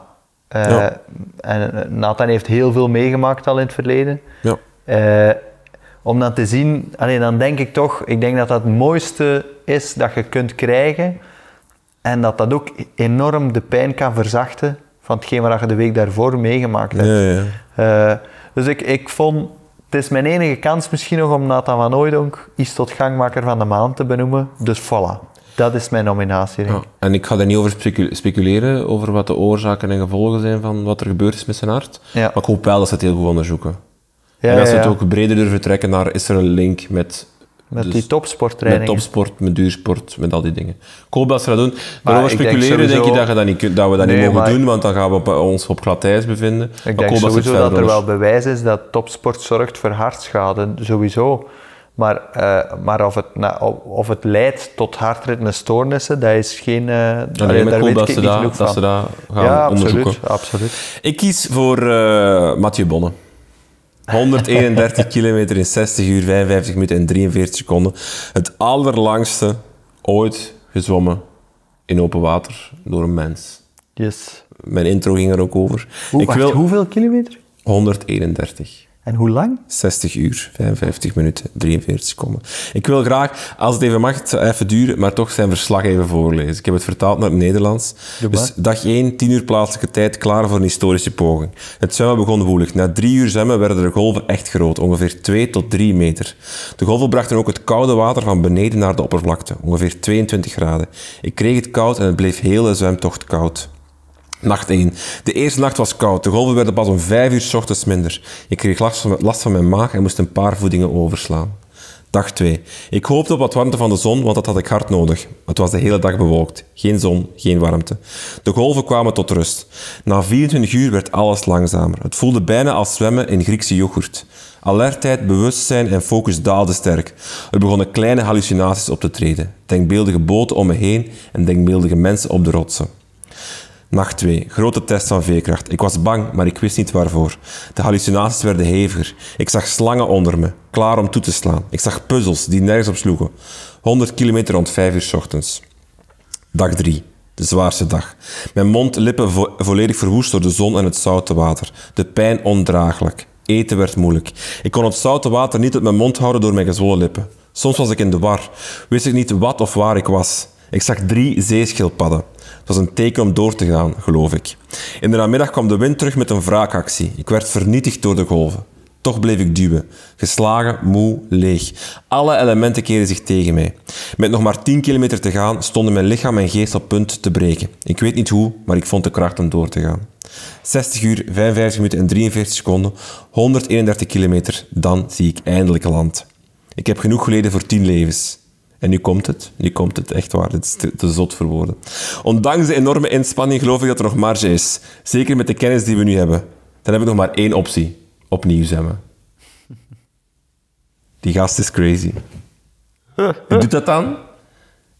S2: Eh,
S1: Ja.
S2: En eh, Nathan heeft heel veel meegemaakt al in het verleden.
S1: Ja.
S2: Eh, om dat te zien, allee, dan denk ik toch, ik denk dat dat het mooiste is dat je kunt krijgen, En dat dat ook enorm de pijn kan verzachten van hetgeen wat je de week daarvoor meegemaakt hebt.
S1: Ja, ja.
S2: Eh, dus ik, ik vond, het is mijn enige kans misschien nog om Nathan van Ooydonk iets tot gangmaker van de maand te benoemen. Dus voilà, dat is mijn nominatie. denk ik.
S1: Ja, En ik ga daar niet over specu- speculeren, over wat de oorzaken en gevolgen zijn van wat er gebeurd is met zijn hart.
S2: Ja.
S1: Maar ik hoop wel dat ze het heel goed onderzoeken.
S2: Ja,
S1: en dat ze
S2: ja,
S1: het
S2: ja.
S1: ook breder durven trekken naar, is er een link met...
S2: Met
S1: dus-
S2: die
S1: Met
S2: topsporttraining.
S1: topsport, met duursport, met al die dingen. Ik hoop dat ze dat doen.
S2: Maar
S1: Daarover
S2: ik denk
S1: speculeren denk, ik
S2: sowieso-
S1: dat, je dat, niet, kunt- dat we dat
S2: Nee,
S1: niet mogen
S2: maar-
S1: doen, want dan gaan we op- eh, ons op gladijs bevinden. Maar
S2: Ik
S1: hoop
S2: denk
S1: ze het
S2: sowieso dat
S1: verder
S2: er wel
S1: onder-
S2: bewijs is dat topsport zorgt voor hartschade, sowieso. Maar, eh, maar of, het, na- of- of het leidt tot hartritmestoornissen, dat is geen... eh
S1: Ja,
S2: allee,
S1: nee, maar
S2: daar
S1: ik hoop
S2: weet
S1: dat
S2: ik
S1: ze
S2: niet
S1: dat,
S2: genoeg
S1: dat,
S2: van.
S1: ze dat gaan
S2: ja,
S1: onderzoeken.
S2: absoluut, absoluut.
S1: Ik kies voor eh Mathieu Bonne. 131 kilometer in 60 uur, 55 minuten en 43 seconden. Het allerlangste ooit gezwommen in open water door een mens.
S2: Yes.
S1: Mijn intro ging er ook over.
S2: Hoe,
S1: ik
S2: wacht,
S1: wil
S2: Hoeveel kilometer?
S1: 131.
S2: En hoe lang?
S1: 60 uur, 55 minuten, 43 seconden. Ik wil graag, als het even mag, het zou even duren, maar toch zijn verslag even voorlezen. Ik heb het vertaald naar het Nederlands.
S2: Doe maar.
S1: Dus dag 1, 10 uur plaatselijke tijd, klaar voor een historische poging. Het zwemmen begon woelig. Na drie uur zwemmen werden de golven echt groot, ongeveer 2 tot 3 meter. De golven brachten ook het koude water van beneden naar de oppervlakte, ongeveer 22 graden. Ik kreeg het koud en het bleef heel de zwemtocht koud. Nacht 1. De eerste nacht was koud. De golven werden pas om 5 uur 's ochtends minder. Ik kreeg last van, last van mijn maag en moest een paar voedingen overslaan. Dag 2. Ik hoopte op wat warmte van de zon, want dat had ik hard nodig. Het was de hele dag bewolkt. Geen zon, geen warmte. De golven kwamen tot rust. Na 24 uur werd alles langzamer. Het voelde bijna als zwemmen in Griekse yoghurt. Alertheid, bewustzijn en focus daalden sterk. Er begonnen kleine hallucinaties op te treden. Denkbeeldige boten om me heen en denkbeeldige mensen op de rotsen. Nacht 2. Grote test van veerkracht. Ik was bang, maar ik wist niet waarvoor. De hallucinaties werden heviger. Ik zag slangen onder me, klaar om toe te slaan. Ik zag puzzels die nergens op sloegen. 100 kilometer rond 5 uur 's ochtends. Dag 3. De zwaarste dag. Mijn mond, lippen vo- volledig verwoest door de zon en het zoute water. De pijn ondraaglijk. Eten werd moeilijk. Ik kon het zoute water niet uit mijn mond houden door mijn gezwollen lippen. Soms was ik in de war. Wist ik niet wat of waar ik was. Ik zag drie zeeschildpadden. Het was een teken om door te gaan, geloof ik. In de namiddag kwam de wind terug met een wraakactie. Ik werd vernietigd door de golven. Toch bleef ik duwen. Geslagen, moe, leeg. Alle elementen keren zich tegen mij. Met nog maar 10 kilometer te gaan stonden mijn lichaam en geest op punt te breken. Ik weet niet hoe, maar ik vond de kracht om door te gaan. 60 uur, 55 minuten en 43 seconden, 131 kilometer, dan zie ik eindelijk land. Ik heb genoeg geleden voor 10 levens. En nu komt het. Nu komt het, echt waar. Dit is te, te zot voor woorden. Ondanks de enorme inspanning geloof ik dat er nog marge is. Zeker met de kennis die we nu hebben. Dan heb ik nog maar één optie. Opnieuw zwemmen. Die gast is crazy. Hij doet dat dan.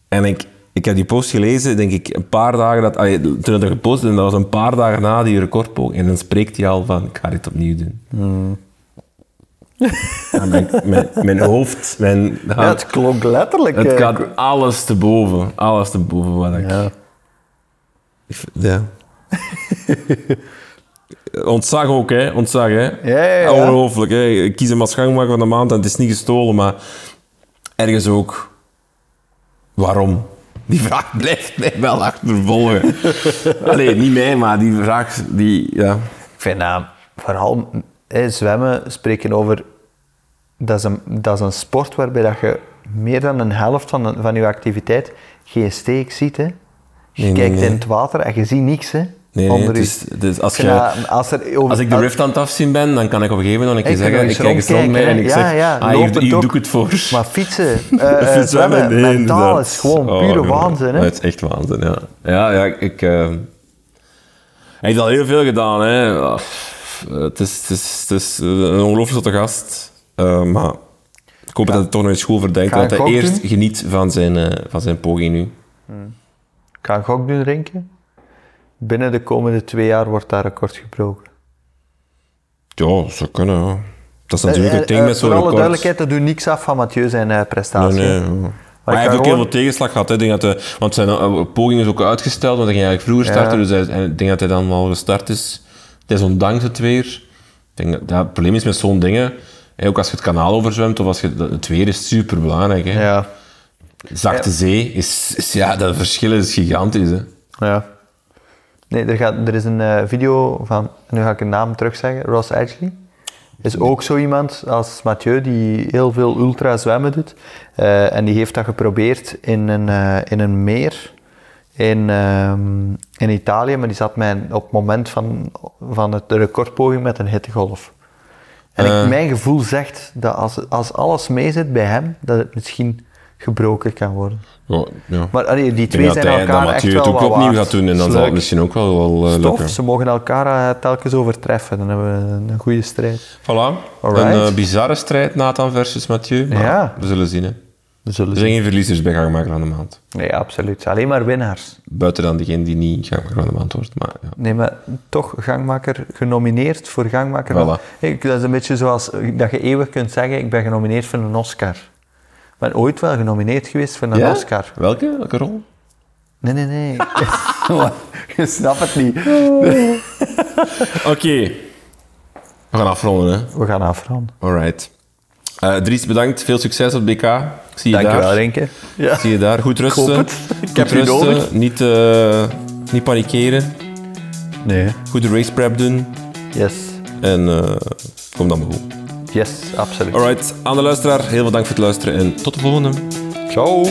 S1: En ik, ik heb die post gelezen, denk ik, een paar dagen... Dat, allee, toen dat gepost is, en dat was een paar dagen na die recordpoging. En dan spreekt hij al van, ik ga dit opnieuw doen.
S2: Hmm.
S1: Ja, mijn, mijn, mijn hoofd, mijn
S2: Ja,
S1: hart
S2: het klonk letterlijk.
S3: Het
S2: eh,
S3: gaat alles te boven. Alles te boven wat ik...
S2: Ja.
S1: Ja. Ontzag ook, hè? Ontzag, hè?
S2: Ja, ja, ja.
S1: Ongelooflijk, hè? Ik kies hem als gangmaker van de maand en het is niet gestolen, maar ergens ook. Waarom? Die vraag blijft mij wel achtervolgen. Allee, niet mij, maar die vraag, die, ja.
S2: Ik vind dat vooral eh, zwemmen spreken over. Dat is, een, dat is een sport waarbij dat je meer dan een helft van, de- van je activiteit geen steek ziet. Hè. Je
S1: nee,
S2: kijkt
S1: nee.
S2: in het water en je ziet niks. Hè,
S1: nee,
S2: onder
S1: het
S2: je.
S1: is- het is- als
S2: Ik vind
S1: je-
S2: dat- als, er over-
S1: Als ik de rift aan het afzien ben, dan kan ik op een gegeven moment nog een
S2: Ik
S1: keer
S2: kan
S1: zeggen,
S2: nog
S1: ik
S2: eens
S1: kijk eens rond mij en ik
S2: rondkijken, hè.
S1: zeg,
S2: Ja, ja,
S1: ah, hier,
S2: lopend
S1: hier
S2: ook.
S1: doe ik het voor.
S2: Maar fietsen, eh, eh,
S1: Even
S2: zwemmen,
S1: nee,
S2: mentaal
S1: inderdaad.
S2: is gewoon
S1: Oh,
S2: pure
S1: ja.
S2: waanzin. Hè.
S1: Het is echt waanzin, ja. Ja, ja, ik... eh, Hij heeft al heel veel gedaan, hè. Ah, pff, eh, Het is, het is, het is eh, een ongelooflijk zotte gast, eh, maar ik hoop dat hij toch nog eens goed verdenkt,
S2: Ga
S1: dat
S2: ik
S1: hij
S2: ook
S1: eerst
S2: doen?
S1: geniet van zijn, eh, van zijn poging nu.
S2: Ik ga een gok doen, Renke. Binnen de komende twee jaar wordt dat record gebroken.
S1: Ja, dat zou kunnen, ja. Dat is natuurlijk het ding
S2: Eh, eh,
S1: met zo'n
S2: voor alle
S1: record.
S2: duidelijkheid, dat doet niks af van Mathieu zijn eh, prestatie.
S1: Nee, nee,
S2: hè.
S1: ja.
S2: Maar
S1: Maar hij
S2: ik
S1: heeft ook
S2: ga
S1: heel
S2: gewoon-
S1: veel tegenslag gehad. Hè. Ik Denk dat hij, want zijn eh, poging is ook uitgesteld, want hij ging eigenlijk vroeger starten. Dus hij, en ik denk dat hij dan wel gestart is. Het is ondanks het weer. Ik denk dat, ja, het probleem is met zo'n dingen. hè, ook als je het kanaal overzwemt of als je, dat- het weer is super belangrijk. Hè.
S2: Ja.
S3: Zachte zee is, is- Ja, dat verschil is gigantisch, hè.
S2: Ja. Nee, er, gaat, er is een eh, video van, nu ga ik een naam terugzeggen, Ross Edgley. Is ook zo iemand als Mathieu die heel veel ultra zwemmen doet. Eh, en die heeft dat geprobeerd in een, eh, in een meer in, ehm, in Italië, maar die zat mij op het moment van, van het, de recordpoging met een hittegolf. En ik, mijn gevoel zegt dat als, als alles meezit bij hem, dat het misschien gebroken kan worden.
S1: Oh, ja.
S2: Maar allee, die
S1: Ik denk
S2: twee
S1: dat
S2: zijn
S1: hij-
S2: elkaar
S1: dat
S2: echt
S1: Mathieu
S2: wel
S1: het ook
S2: wat
S1: opnieuw
S2: waard.
S1: gaat doen en
S2: Dat
S1: dan
S2: is
S1: zal
S2: leuk.
S1: het misschien ook wel, wel eh,
S2: Stof,
S1: lukken.
S2: ze mogen elkaar eh, telkens overtreffen. Dan hebben we een- een goede strijd.
S1: Voilà.
S2: Alright.
S1: Een eh, bizarre strijd, Nathan versus Mathieu. Maar
S2: Ja.
S1: we zullen zien. Hè.
S2: We zullen
S1: Er zijn geen verliezers bij gangmaker aan de maand.
S2: Nee, absoluut. Alleen maar winnaars.
S1: Buiten dan degene die niet gangmaker aan de maand wordt. Maar ja.
S2: Nee, maar toch gangmaker genomineerd voor gangmaker.
S1: Voilà.
S2: Ik, dat is een beetje zoals eh, dat je eeuwig kunt zeggen, ik ben genomineerd voor een Oscar. Ik ben ooit wel genomineerd geweest voor een
S1: Ja?
S2: Oscar.
S1: Welke? Welke rol?
S2: Nee, nee, nee. je snapt het niet.
S1: Oké. We gaan afronden, hè.
S2: We gaan afronden.
S1: Alright. Eh, Dries, bedankt. Veel succes op BK. Ik zie je daar.
S2: Dankjewel, Renke. Ja.
S1: Zie je daar. Goed rusten.
S2: hoop het. Ik
S1: Goed
S2: heb je
S1: rusten.
S2: nodig.
S1: Niet, eh, niet panikeren.
S2: Nee.
S1: Goed race prep doen.
S2: Yes.
S1: En eh, kom dan maar goed.
S2: Yes, absoluut.
S1: Alright. Aan de luisteraar, heel veel dank voor het luisteren. En tot de volgende.
S2: Ciao.